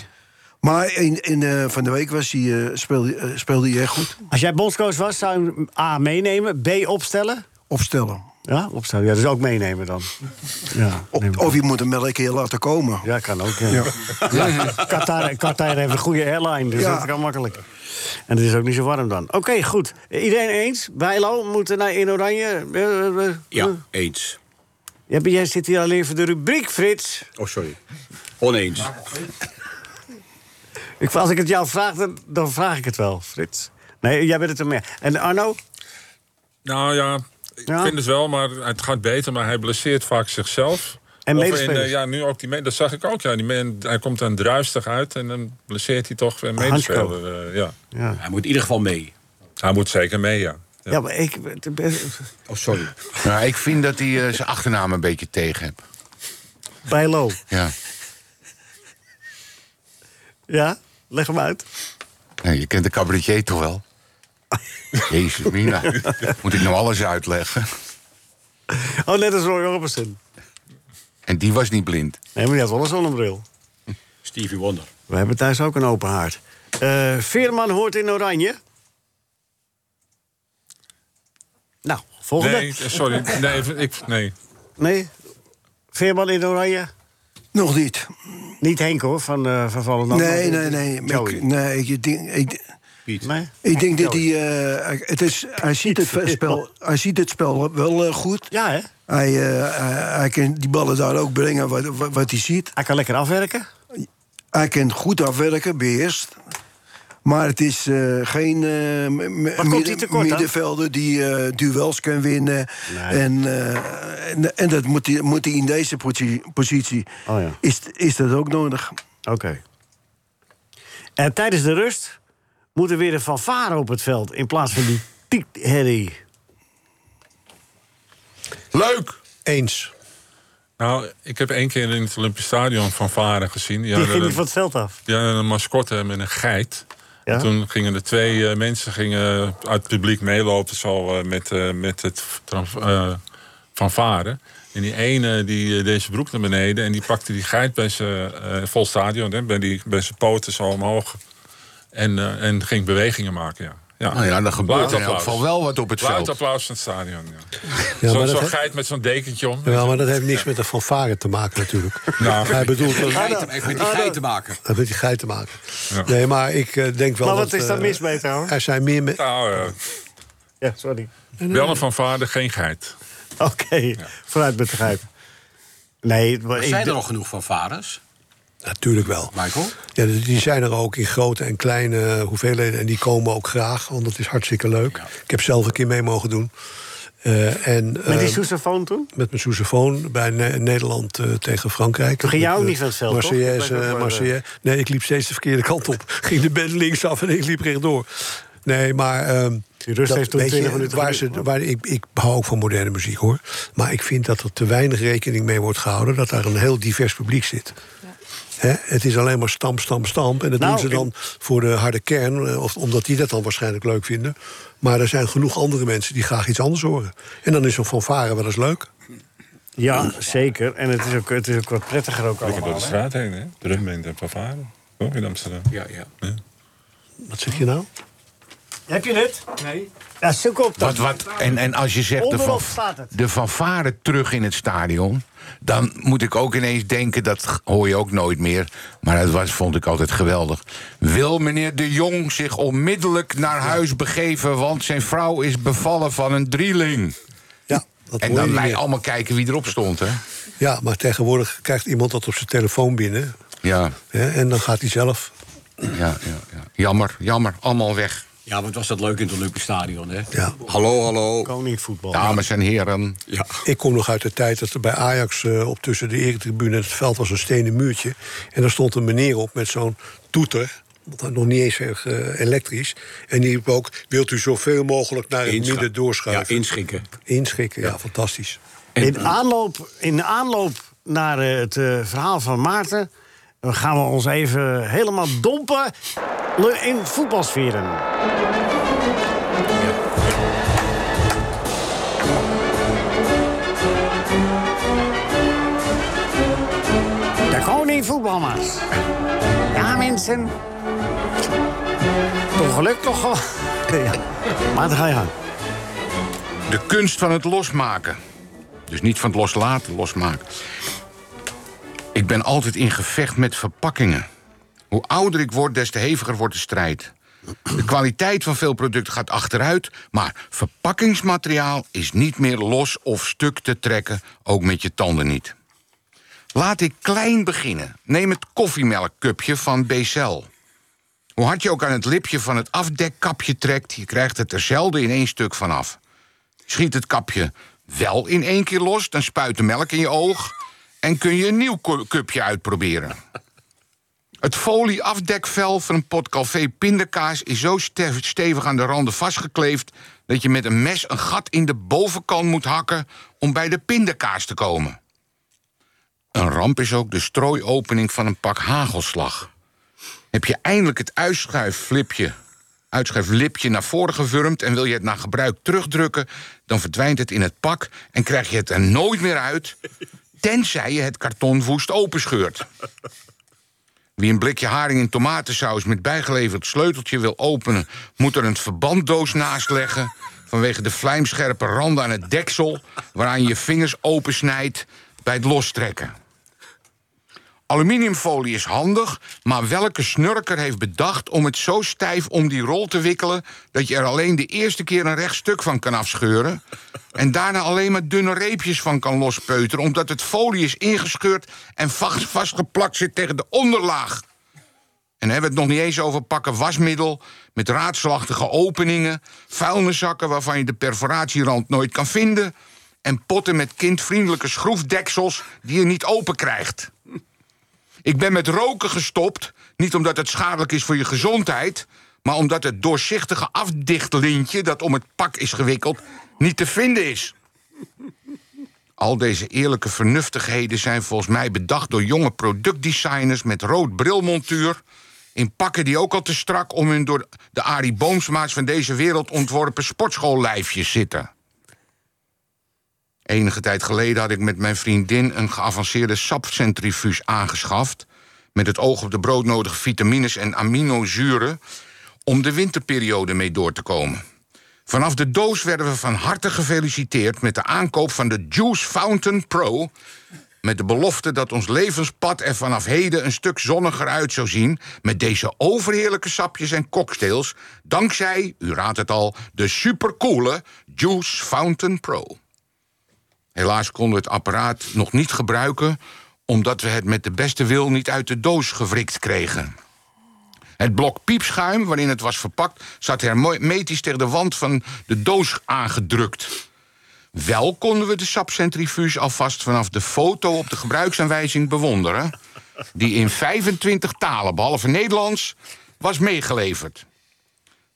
D: Maar in, in, eh, van de week was hij, eh, speelde, eh, speelde hij echt goed.
C: Als jij bondscoach was, zou je hem A meenemen, B opstellen.
D: Opstellen.
C: Ja, opstellen. Ja, dus ook meenemen dan. Ja,
D: Op-
C: neem ik.
D: of je moet hem wel een keer laten komen.
C: ja kan ook. Ja. Qatar, Qatar heeft een goede airline, dus
D: Ja.
C: dat kan makkelijk. En het is ook niet zo warm dan. Oké, goed. Iedereen eens? Bijlo moet naar in oranje. Eh, eh, eh.
J: Ja, eens.
C: Ja, maar jij zit hier alleen voor de rubriek, Frits.
J: Oh, sorry. Oneens.
C: Ik, als ik het jou vraag, dan, dan vraag ik het wel, Frits. Nee, jij bent het er meer. En Arno?
E: Nou ja, ik
C: Ja.
E: vind het wel, maar het gaat beter. Maar hij blesseert vaak zichzelf.
C: En
E: Of in,
C: medespelers.
E: eh, ja, nu ook die me- dat zag ik ook. Ja, die man, hij komt dan druistig uit en dan blesseert hij toch weer medespeler. eh, ja.
C: Ja,
J: Hij moet in ieder geval mee.
E: Hij moet zeker mee, ja.
C: ja. maar ik...
J: Oh, sorry.
F: Nou, ik vind dat hij eh, zijn achternaam een beetje tegen hebt.
C: Bijlo.
F: Ja.
C: Ja? Leg hem uit.
F: Nou, je kent de cabaretier toch wel? Jezus, Mina. Moet ik nou alles uitleggen?
C: Oh, net als Roy Orbison.
F: En die was niet blind.
C: Nee, maar die had wel een zonnebril.
J: Stevie Wonder.
C: We hebben thuis ook een open haard. Eh, Veerman hoort in oranje. Nou, volgende.
E: Nee,
C: Nee.
E: eh, sorry. Nee, ik, nee.
C: Veerman in oranje.
D: Nog niet.
C: Niet Henk hoor, van, eh van Volendam.
D: Nee, nee, nee. maar
C: Joey.
D: Ik, nee ik, ik denk, ik,
C: Nee?
D: ik denk dat hij... eh, het is,
C: (laughs)
D: hij, ziet het spel, hij ziet het spel wel eh, goed.
C: Ja, hè?
D: Hij, eh, hij, hij kan die ballen daar ook brengen wat, wat, wat hij ziet.
C: Hij kan lekker afwerken.
D: Hij kan goed afwerken, beheerst. Maar het is eh, geen eh, m- m-
C: komt hij tekort aan?
D: middenvelder die eh, duels kan winnen. En, eh, en, en dat moet hij, moet hij in deze positie. positie.
C: Oh ja.
D: is, is dat ook nodig?
C: Oké. En tijdens de rust moet er weer een fanfare op het veld... in plaats van die piekherrie.
F: Leuk!
G: Eens.
E: Nou, ik heb één keer in het Olympisch Stadion van Varen gezien. Die
C: Die
E: hadden
C: ging niet
E: een-
C: van het veld af.
E: Ja, een mascotte met een geit.
C: Ja?
E: En toen gingen er twee eh, mensen gingen uit het publiek meelopen zo, eh, met, eh, met het trans- eh, fanfaren. En die ene die eh, deed zijn broek naar beneden en die pakte die geit bij zijn eh, vol stadion, hè, bij, die, bij zijn poten zo omhoog. En, eh, en ging bewegingen maken, ja. ja.
F: Nou ja, dan gebeurt
E: Luid
F: er in elk
E: applaus.
F: geval wel wat op het
E: Luid
F: veld.
E: applaus van het stadion, ja.
G: Ja,
E: Zo'n
G: maar dat
E: zo'n
G: he-
E: geit met zo'n dekentje om.
G: Ja, maar dat heeft niks met de fanfare te maken natuurlijk.
E: (laughs) Nou.
G: Hij bedoelt dat
J: Hij heeft met die geit te maken.
G: dat met die geit te maken.
E: Ja.
G: Nee, maar ik eh, denk wel
C: Maar
G: dat...
C: wat is daar
G: eh,
C: mis mee trouwens?
G: Er zijn meer... me-
E: Nou, eh,
C: Ja, sorry.
E: wel een fanfare, geen geit.
C: Oké, vooruit met de grijp. Nee, maar
J: Er
C: ik-
J: zijn er al genoeg van vaders,
G: Natuurlijk wel.
J: Michael.
G: Ja, die die zijn er ook in grote en kleine hoeveelheden. En die komen ook graag, want het is hartstikke leuk. Ik heb zelf een keer mee mogen doen. Eh, en,
C: Met die
G: eh,
C: sousaphone toen?
G: met mijn sousaphone bij Ne- Nederland eh, tegen Frankrijk. Toen
C: ging jij ook niet van het veld, toch?
G: Marseillaise,
C: Dat bleef ook
G: eh,
C: maar,
G: Marseillaise. Nee, ik liep steeds de verkeerde
C: (laughs)
G: kant op. ging de bed linksaf en ik liep rechtdoor. Nee, maar... ehm,
C: Die rust heeft toen
G: weet je,
C: 20 minuten
G: waar
C: geduurd,
G: ze, waar, ik, ik hou ook van moderne muziek, hoor. Maar ik vind dat er te weinig rekening mee wordt gehouden... dat daar een heel divers publiek zit. Hè? Het is alleen maar stamp, stamp, stamp. En dat
C: Nou,
G: doen ze dan
C: ik-
G: voor de harde kern, eh, of, omdat die dat dan waarschijnlijk leuk vinden. Maar er zijn genoeg andere mensen die graag iets anders horen. En dan is zo'n fanfare wel eens leuk.
C: Ja, zeker. En het is ook, het is ook wat prettiger ook
E: Lekker door de
C: allemaal. hè?
E: straat heen, hè? Drumbeent en fanfare. Ook in Amsterdam.
J: Ja, ja.
G: Wat zeg je nou?
C: Heb je het? Nee. Ja, zoek op dan.
F: Wat, wat, en, en als je zegt de,
C: Onderop
F: fanf-
C: staat het.
F: de fanfare terug in het stadion... dan moet ik ook ineens denken, dat g- hoor je ook nooit meer... maar dat was, vond ik altijd geweldig. Wil meneer de Jong zich onmiddellijk naar huis begeven... want zijn vrouw is bevallen van een drieling?
G: Ja, dat hoor
F: En
G: je
F: dan
G: niet
F: wij
G: meer.
F: allemaal kijken wie erop stond, hè?
G: Ja, maar tegenwoordig krijgt iemand dat op zijn telefoon binnen.
F: Ja.
G: Hè, en dan gaat hij zelf.
F: ja, ja. Jammer, jammer. Allemaal weg.
J: Ja, want was dat leuk in het Olympisch Stadion, hè?
G: Ja.
F: Hallo, hallo.
C: Koningvoetbal.
F: Dames en heren.
J: Ja.
G: Ik kom nog uit de tijd dat er bij Ajax eh, op tussen de eretribune en het veld was een stenen muurtje. En daar stond een meneer op met zo'n toeter. want hij Nog niet eens erg eh, elektrisch. En die riep ook: Wilt u zoveel mogelijk naar het
J: Inscha-
G: midden
J: Ja,
G: doorschuiven?
J: inschikken.
G: Inschikken, ja, fantastisch.
C: In aanloop, in de aanloop naar eh, het eh, verhaal van Maarten... eh, gaan we ons even helemaal dompen in voetbalsferen. De koning voetbalmars. Ja, mensen. Toch gelukt toch wel. (laughs) Ja. Maar dan ga je aan.
F: De kunst van het losmaken. Dus niet van het loslaten, losmaken. Ik ben altijd in gevecht met verpakkingen. Hoe ouder ik word, des te heviger wordt de strijd. De kwaliteit van veel producten gaat achteruit, maar verpakkingsmateriaal is niet meer los of stuk te trekken, ook met je tanden niet. Laat ik klein beginnen. Neem het koffiemelkcupje van Becel. Hoe hard je ook aan het lipje van het afdekkapje trekt, je krijgt het er zelden in één stuk vanaf. Schiet het kapje wel in één keer los, dan spuit de melk in je oog en kun je een nieuw ku- cupje uitproberen. (laughs) Het folieafdekvel van een pot Calvé pindakaas is zo ste- stevig aan de randen vastgekleefd dat je met een mes een gat in de bovenkant moet hakken om bij de pindakaas te komen. Een ramp is ook de strooiopening van een pak hagelslag. Heb je eindelijk het uitschuifflipje, uitschuiflipje naar voren gewurmd en wil je het na gebruik terugdrukken, dan verdwijnt het in het pak en krijg je het er nooit meer uit, tenzij je het karton woest openscheurt. Wie een blikje haring in tomatensaus met bijgeleverd sleuteltje wil openen, moet er een verbanddoos naast leggen. Vanwege de vlijmscherpe randen aan het deksel, waaraan je je vingers opensnijdt bij het lostrekken. Aluminiumfolie is handig, maar welke snurker heeft bedacht om het zo stijf om die rol te wikkelen dat je er alleen de eerste keer een recht stuk van kan afscheuren en daarna alleen maar dunne reepjes van kan lospeuteren omdat het folie is ingescheurd en vast- vastgeplakt zit tegen de onderlaag? En dan hebben we het nog niet eens over pakken wasmiddel met raadselachtige openingen, vuilniszakken waarvan je de perforatierand nooit kan vinden en potten met kindvriendelijke schroefdeksels die je niet open krijgt. Ik ben met roken gestopt. Niet omdat het schadelijk is voor je gezondheid. Maar omdat het doorzichtige afdichtlintje dat om het pak is gewikkeld niet te vinden is. Al deze eerlijke vernuftigheden zijn volgens mij bedacht door jonge productdesigners met rood brilmontuur. In pakken die ook al te strak om hun door de Arie Boomsmaats van deze wereld ontworpen sportschoollijfjes zitten. Enige tijd geleden had ik met mijn vriendin een geavanceerde sapcentrifuge aangeschaft. Met het oog op de broodnodige vitamines en aminozuren. om de winterperiode mee door te komen. Vanaf de doos werden we van harte gefeliciteerd met de aankoop van de Juice Fountain Pro. Met de belofte dat ons levenspad er vanaf heden een stuk zonniger uit zou zien. met deze overheerlijke sapjes en cocktails. dankzij, u raadt het al, de supercoole Juice Fountain Pro. Helaas konden we het apparaat nog niet gebruiken, omdat we het met de beste wil niet uit de doos gewrikt kregen. Het blok piepschuim waarin het was verpakt, zat hermetisch tegen de wand van de doos aangedrukt. Wel konden we de sapcentrifuge alvast vanaf de foto op de gebruiksaanwijzing bewonderen, die in 25 talen, behalve Nederlands, was meegeleverd.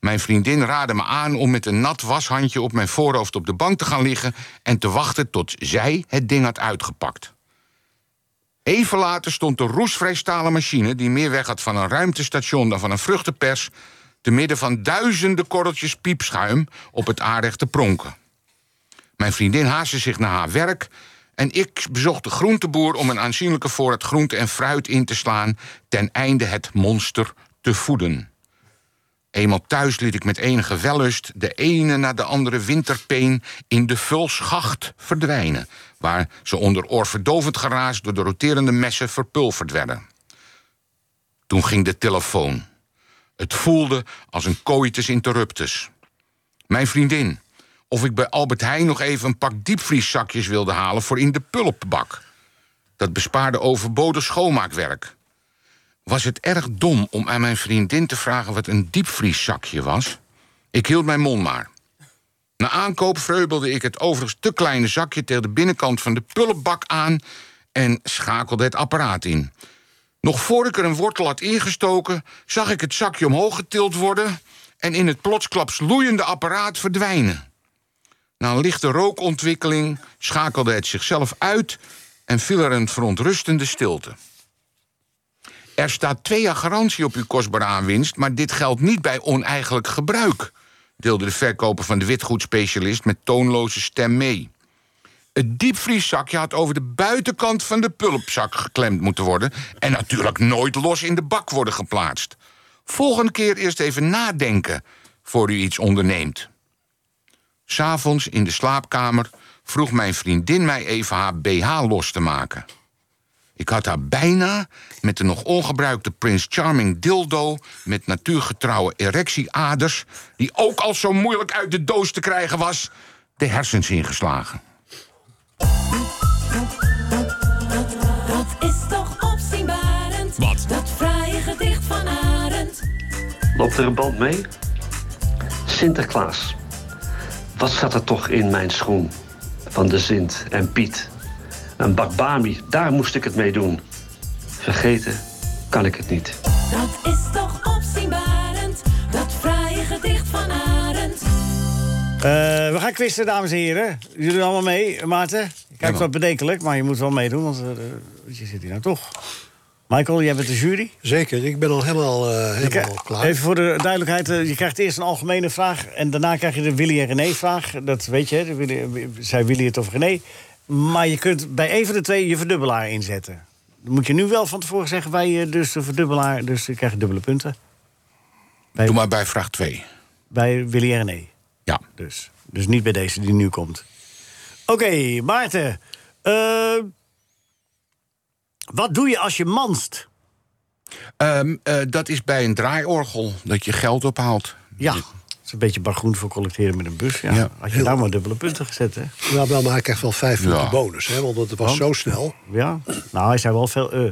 F: Mijn vriendin raadde me aan om met een nat washandje op mijn voorhoofd op de bank te gaan liggen en te wachten tot zij het ding had uitgepakt. Even later stond de roestvrijstalen machine, die meer weg had van een ruimtestation dan van een vruchtenpers, te midden van duizenden korreltjes piepschuim op het aardrecht te pronken. Mijn vriendin haastte zich naar haar werk en ik bezocht de groenteboer om een aanzienlijke voorraad groente en fruit in te slaan ten einde het monster te voeden. Eenmaal thuis liet ik met enige wellust de ene na de andere winterpeen in de vulschacht verdwijnen, waar ze onder oorverdovend geraas door de roterende messen verpulverd werden. Toen ging de telefoon. Het voelde als een coitus interruptus. Mijn vriendin, of ik bij Albert Heijn nog even een pak diepvrieszakjes wilde halen voor in de pulpbak. Dat bespaarde overbodig schoonmaakwerk. was het erg dom om aan mijn vriendin te vragen wat een diepvrieszakje was. Ik hield mijn mond maar. Na aankoop vreubelde ik het overigens te kleine zakje tegen de binnenkant van de pullenbak aan en schakelde het apparaat in. Nog voor ik er een wortel had ingestoken, zag ik het zakje omhoog getild worden en in het plotsklaps loeiende apparaat verdwijnen. Na een lichte rookontwikkeling schakelde het zichzelf uit en viel er een verontrustende stilte. Er staat twee jaar garantie op uw kostbare aanwinst, maar dit geldt niet bij oneigenlijk gebruik, deelde de verkoper van de witgoedspecialist met toonloze stem mee. Het diepvrieszakje had over de buitenkant van de pulpzak geklemd moeten worden en natuurlijk nooit los in de bak worden geplaatst. Volgende keer eerst even nadenken voor u iets onderneemt. S'avonds in de slaapkamer vroeg mijn vriendin mij even haar BH los te maken. Ik had haar bijna met de nog ongebruikte Prince Charming dildo... met natuurgetrouwe erectieaders... die ook al zo moeilijk uit de doos te krijgen was... de hersens ingeslagen.
L: Dat is toch opzienbarend? Wat? Dat fraaie gedicht van Arend.
M: Loopt er een band mee? Sinterklaas. Wat zat er toch in mijn schoen? Van de Sint en Piet. Een bakbami, daar moest ik het mee doen. Vergeten kan ik het niet.
L: Dat is toch opzienbarend? Dat fraaie gedicht van Arend.
C: Eh, we gaan quizzen, dames en heren. Jullie doen allemaal mee, Maarten. Kijk, wat bedenkelijk, maar je moet wel meedoen, want eh, je zit hier nou toch. Michael, jij bent de jury.
G: Zeker, ik ben al helemaal, eh, helemaal klaar.
C: Even voor de duidelijkheid, eh, je krijgt eerst een algemene vraag... en daarna krijg je de Willy en René-vraag. Dat weet je, hè, de Willy, zei Willy het of René. Maar je kunt bij één van de twee je verdubbelaar inzetten. Dan moet je nu wel van tevoren zeggen, wij eh, dus de verdubbelaar... dus je krijgt dubbele punten
F: Doe maar bij vraag 2.
C: bij Willy en René.
F: Ja.
C: Dus, dus niet bij deze die nu komt. Oké, Maarten. eh, wat doe je als je manst?
F: Ehm, eh, dat is bij een draaiorgel, dat je geld ophaalt.
C: Ja, dat is een beetje bargoen voor collecteren met een bus. Ja.
F: Ja.
C: Had je daar maar dubbele punten gezet, hè?
G: Nou, wel, maar hij krijgt wel vijf
F: Ja.
G: punten bonus, hè, want het was zo snel.
C: Ja. Nou, hij zei wel veel (laughs) eh.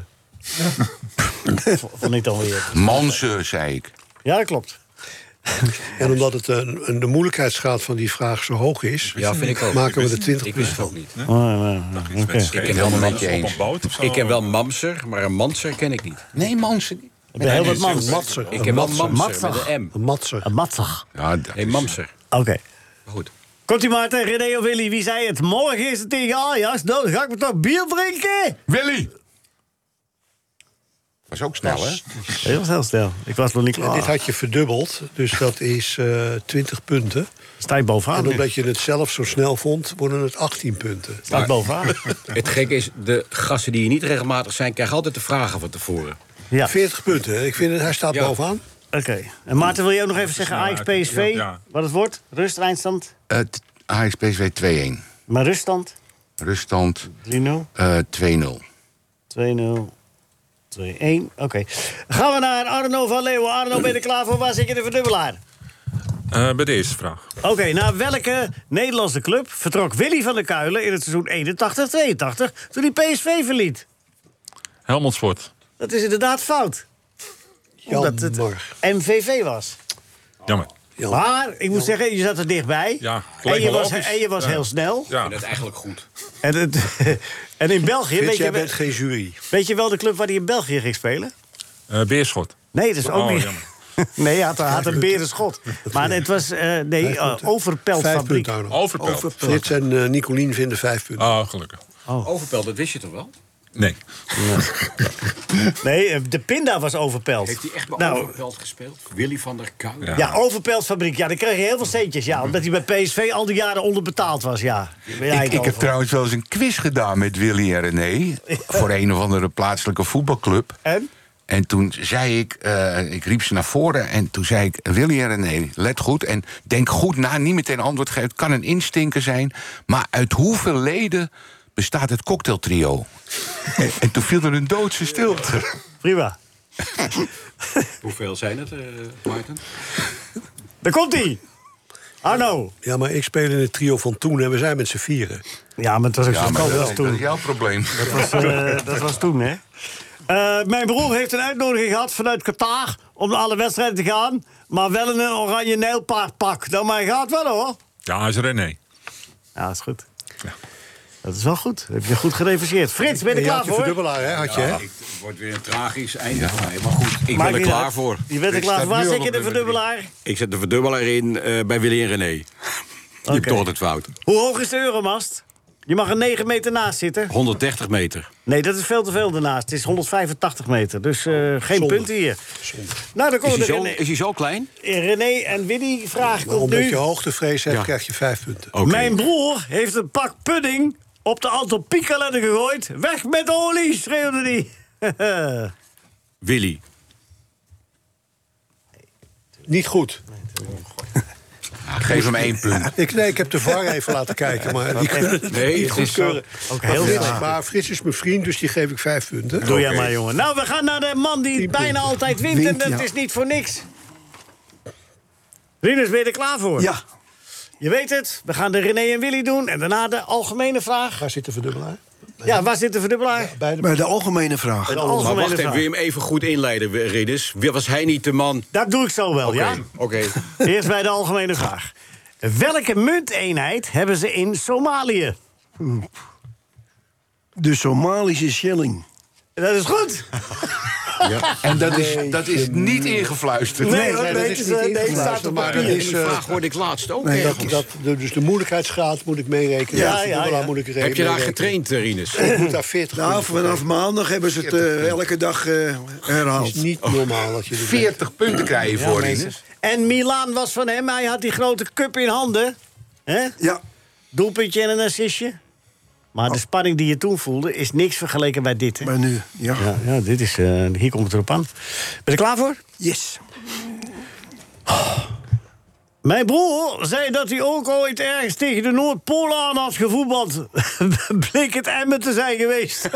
C: Vond ik dan weer.
F: Manse, zei ik.
C: Ja, dat klopt.
G: En omdat het, eh, een- de moeilijkheidsgraad van die vraag zo hoog is...
J: Ja, vind ik ook. Ik
G: maken we
J: wist
G: er
J: het-
G: 20
J: ik wist
G: punten
J: het
G: van.
J: ook niet.
C: Oké.
J: Ik
F: ben
J: ken wel
F: het met
J: Mams-
F: je eens.
J: op een boot of zo. Ik ken wel Mamser, maar een Manser ken ik niet.
F: Nee, Manse. niet.
C: Ik ben heel wat mans.
G: Matser.
J: Ik ken wel
G: Matser.
J: Mamser met een M.
G: Een matser.
C: Een matzig.
F: Ja, dat
J: Nee,
F: is-
J: Mamser.
C: Oké.
J: Goed.
C: Komt-ie, Maarten, René of Willy? Wie zei het? Morgen is het tegen Ajax. Nou, dan ga ik me toch bier drinken?
F: Willy! Was ook snel, hè?
C: Heel heel snel. Ik was nog niet
G: En dit
C: klaar.
G: had je verdubbeld, dus dat is eh 20 punten.
C: Sta je bovenaan?
G: En
C: nu?
G: omdat je het zelf zo snel vond, worden het 18 punten.
C: Sta ik bovenaan?
J: Het gekke is, de gasten die hier niet regelmatig zijn... krijgen altijd de vragen van tevoren.
C: (laughs) Ja.
G: 40 punten, hè? ik vind het, hij staat
J: Ja.
G: bovenaan.
C: Oké. En Maarten, wil je ook nog even zeggen Ajax PSV?
E: Ja, ja.
C: Wat het wordt? Rust, eindstand?
F: Het AX PSV 2-1.
C: Maar ruststand?
F: Ruststand
C: 3-0, 2-0, 2-1.
F: eh 2-0.
C: Oké. Gaan we naar Arno van Leeuwen. Arno, ben je er klaar voor? Waar zit je de verdubbelaar?
E: Eh, bij de eerste vraag.
C: Oké, naar welke Nederlandse club vertrok Willy van der Kuilen... in het seizoen 81-82 toen hij PSV verliet?
E: Helmond Sport.
C: Dat is inderdaad fout. Omdat het
G: Jammer.
C: MVV was.
E: Jammer.
C: Maar, ik moet zeggen, je zat er dichtbij.
E: Ja,
C: en je
E: lijkt me
C: was,
E: logisch.
C: en je was
E: Ja.
C: heel snel.
E: Ja.
J: Dat is eigenlijk goed.
C: En, het, (laughs) en in België...
G: Frits,
C: weet je,
G: jij bent geen jury.
C: Weet je wel de club waar hij in België ging spelen?
E: Eh, Beerschot.
C: Nee, dat is ook
E: Oh,
C: niet.
E: jammer.
C: (laughs) Nee, hij had, hij had een
F: (laughs)
C: berenschot. Maar het was, eh nee, eh,
G: Vijf
C: overpeldfabriek.
G: punten, Arno.
E: Overpelt.
G: Frits en eh, Nicolien vinden vijf punten.
E: Ah, gelukkig.
J: Overpel, dat wist je toch wel?
E: Nee.
C: Nee, eh, de pinda was overpeld.
J: Heeft hij echt bij
C: nou,
J: Overpelt gespeeld? Willy van der Kuil?
E: Ja.
C: Ja, overpeldfabriek. Ja, dan kreeg je heel veel centjes. Ja, omdat hij bij PSV al die jaren onderbetaald was. Ja, Ben jij het
F: Ik, ik heb
C: over?
F: trouwens wel eens een quiz gedaan met Willy en René. Voor een of andere plaatselijke voetbalclub.
C: En?
F: En toen zei ik, eh, ik riep ze naar voren en toen zei ik... Willy en René, let goed en denk goed na, niet meteen antwoord geven. Het kan een instinker zijn, maar uit hoeveel leden bestaat het (laughs) cocktailtrio? en, en toen viel er een doodse stilte.
C: Prima.
J: Hoeveel zijn het, eh Maarten?
C: Daar komt hij. Arno.
G: Ja, maar ik speel in het trio van toen en we zijn met z'n vieren.
C: Ja, maar het was ook zo'n
F: maar
C: kant
F: dat,
C: als
F: is-
C: toen.
J: (laughs)
F: dat is jouw probleem.
C: Dat was, eh, dat was toen, hè? Eh, Eh, mijn broer heeft een uitnodiging gehad vanuit Qatar om naar alle wedstrijden te gaan. Maar wel in een oranje nijlpaardpak. Nou, maar hij gaat wel hoor.
E: Ja, is René.
C: Ja, is goed. Dat is wel goed. Heb je goed gerefereerd. Frits, ben je er klaar voor?
J: Ja, Ah, ik- Het wordt weer een tragisch einde voor mij. Maar goed, ik
C: Maakt
J: ben er
C: niet
J: klaar
C: uit.
J: voor.
C: Je bent er
J: Ik
C: klaar
J: sta
C: voor. Waar
J: nu al
C: zit je
J: op
C: de
J: nummer
C: verdubbelaar?
J: drie. Ik zet de verdubbelaar in eh, bij Willy en René. Je hebt toch altijd fout.
C: Hoe hoog is de euromast? Je mag er 9 meter naast zitten.
J: 130 meter.
C: Nee, dat is veel te veel daarnaast. Het is 185 meter, dus eh, geen
J: Zonde.
C: punten hier. Nou, dan
J: Is
C: komen
J: hij,
C: de
J: zo,
C: René,
J: is hij zo klein?
C: René en Winnie vraag
G: Nou,
C: komt nu.
G: omdat je hoogtevrees hebt,
J: Ja.
G: krijg je vijf punten.
C: Mijn broer heeft een pak pudding op de Anton Piekalender gegooid. Weg met de olie, schreeuwde hij.
J: Willy.
G: Niet goed.
F: geef hem één punt.
G: Ik, nee, ik heb de VAR even laten kijken, maar die kunnen het
J: Nee,
G: niet
J: het
G: goed
J: is zo.
G: keuren.
C: Ook
G: Maar
C: heel
G: Frits-
C: raar.
G: Maar Frits is mijn vriend, dus die geef ik vijf punten.
C: Doe jij maar, jongen. Nou, we gaan naar de man die het bijna altijd wint. en
G: Wint,
C: dat
G: ja.
C: is niet voor niks. Rinus, ben je er klaar voor?
D: Ja.
C: Je weet het, we gaan de René en Willy doen. En daarna de algemene vraag.
G: Waar zit de verdubbelaar?
C: Ja, waar zit de verdubbelaar?
G: Bij de...
D: Maar de algemene vraag.
C: Een
J: Maar
C: algemene
J: wacht even,
C: vraag.
J: wil je hem even goed inleiden, Ridus? Was hij niet de man?
C: Dat doe ik zo wel,
J: Oké,
C: Oh, ja?
J: Oké.
C: (laughs) Eerst bij de algemene vraag. Welke munteenheid hebben ze in Somalië?
D: De Somalische shilling.
C: Dat is goed.
F: En dat is, dat is niet ingefluisterd.
C: Nee, dat
G: dat
C: weten
G: is niet
C: ze. Nee, het
G: ingefluisterd,
C: staat op
G: maar
C: papier.
G: dat
J: Die
G: is, eh,
J: vraag hoorde ik laatst ook
G: Nee, dat,
J: ergens.
G: dat, dus de moeilijkheidsgraad moet ik meerekenen.
C: Ja,
G: de verdubbelaar
C: ja, ja.
G: Moet ik re-
J: Heb je daar
G: meerekenen.
J: getraind, eh, Rinus?
G: Ik moet daar 40
D: Nou,
G: punten
D: vanaf maandag hebben ze het eh, elke dag eh,
G: Het
D: herhaald.
G: is niet normaal dat je dit
F: 40 punten krijg je voor,
C: mensen.
F: Rinus.
C: En Milaan was van hem. Hij had die grote cup in handen. hè?
D: Ja,
C: Doelpuntje en een assistje. Maar de spanning die je toen voelde is niks vergeleken bij dit. hè?
D: maar nu. Ja.
C: Ja, ja, dit is, eh, hier komt het erop aan. Ben je er klaar voor?
D: Yes.
C: Mijn broer zei dat hij ook ooit ergens tegen de Noordpool aan had gevoetbald. (laughs) Bleek het Emmen te zijn geweest.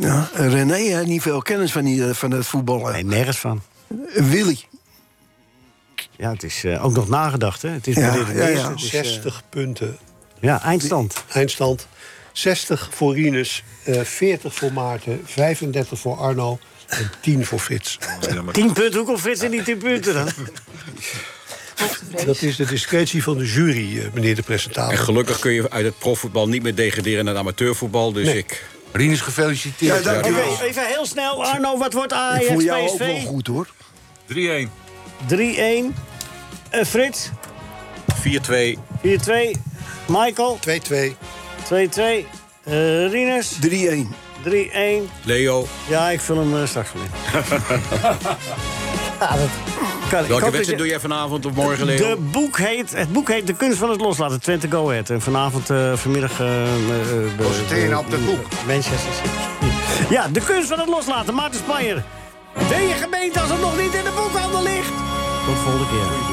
D: Ja, René heeft niet veel kennis van, die, eh, van het
C: (laughs)
D: voetballen.
C: nee, nergens van.
D: Willy.
C: Ja, het is eh, ook nog nagedacht, hè? Het is
D: Ja,
C: maar dit-
D: ja, ja.
C: het is, eh,
G: 60 punten.
C: ja, eindstand.
G: Eindstand 60 voor Rinus, eh, 40 voor Maarten, 35 voor Arno en 10 voor Frits.
C: Tien punten, hoe komt Frits in die tien punten dan?
G: Dat is de discretie van de jury, eh, meneer de
J: En
G: presentator.
J: gelukkig kun je uit het profvoetbal niet meer degraderen naar amateurvoetbal. Dus ik...
F: Rinus, gefeliciteerd.
D: Ja, dank
C: Oké,
D: u wel.
C: even heel snel. Arno, wat wordt Ajax,
D: Voor jou ook
C: PSV?
D: wel goed hoor.
E: 3-1.
C: 3-1. Eh, Frits,
J: 4-2.
C: 4-2. Michael,
G: 2-2.
C: 2-2. Eh Rinus,
D: 3-1.
C: 3-1.
J: Leo,
C: Ja, ik vul hem eh, straks (laughs) wel in. ja, Ah, dat kan. Ik hoop
J: welke
C: dat
J: wedstrijd doe
C: je-
J: jij vanavond of morgen, Leo?
C: De boek heet, het boek heet De Kunst van het Loslaten, Twente Go Ahead. En vanavond, eh, vanmiddag... Concentreer
F: je op dat boek.
C: Manchester City. Ja, De Kunst van het Loslaten, Maarten Spanjer. Ben je gemeente als het nog niet in de boekhandel ligt? Tot volgende keer.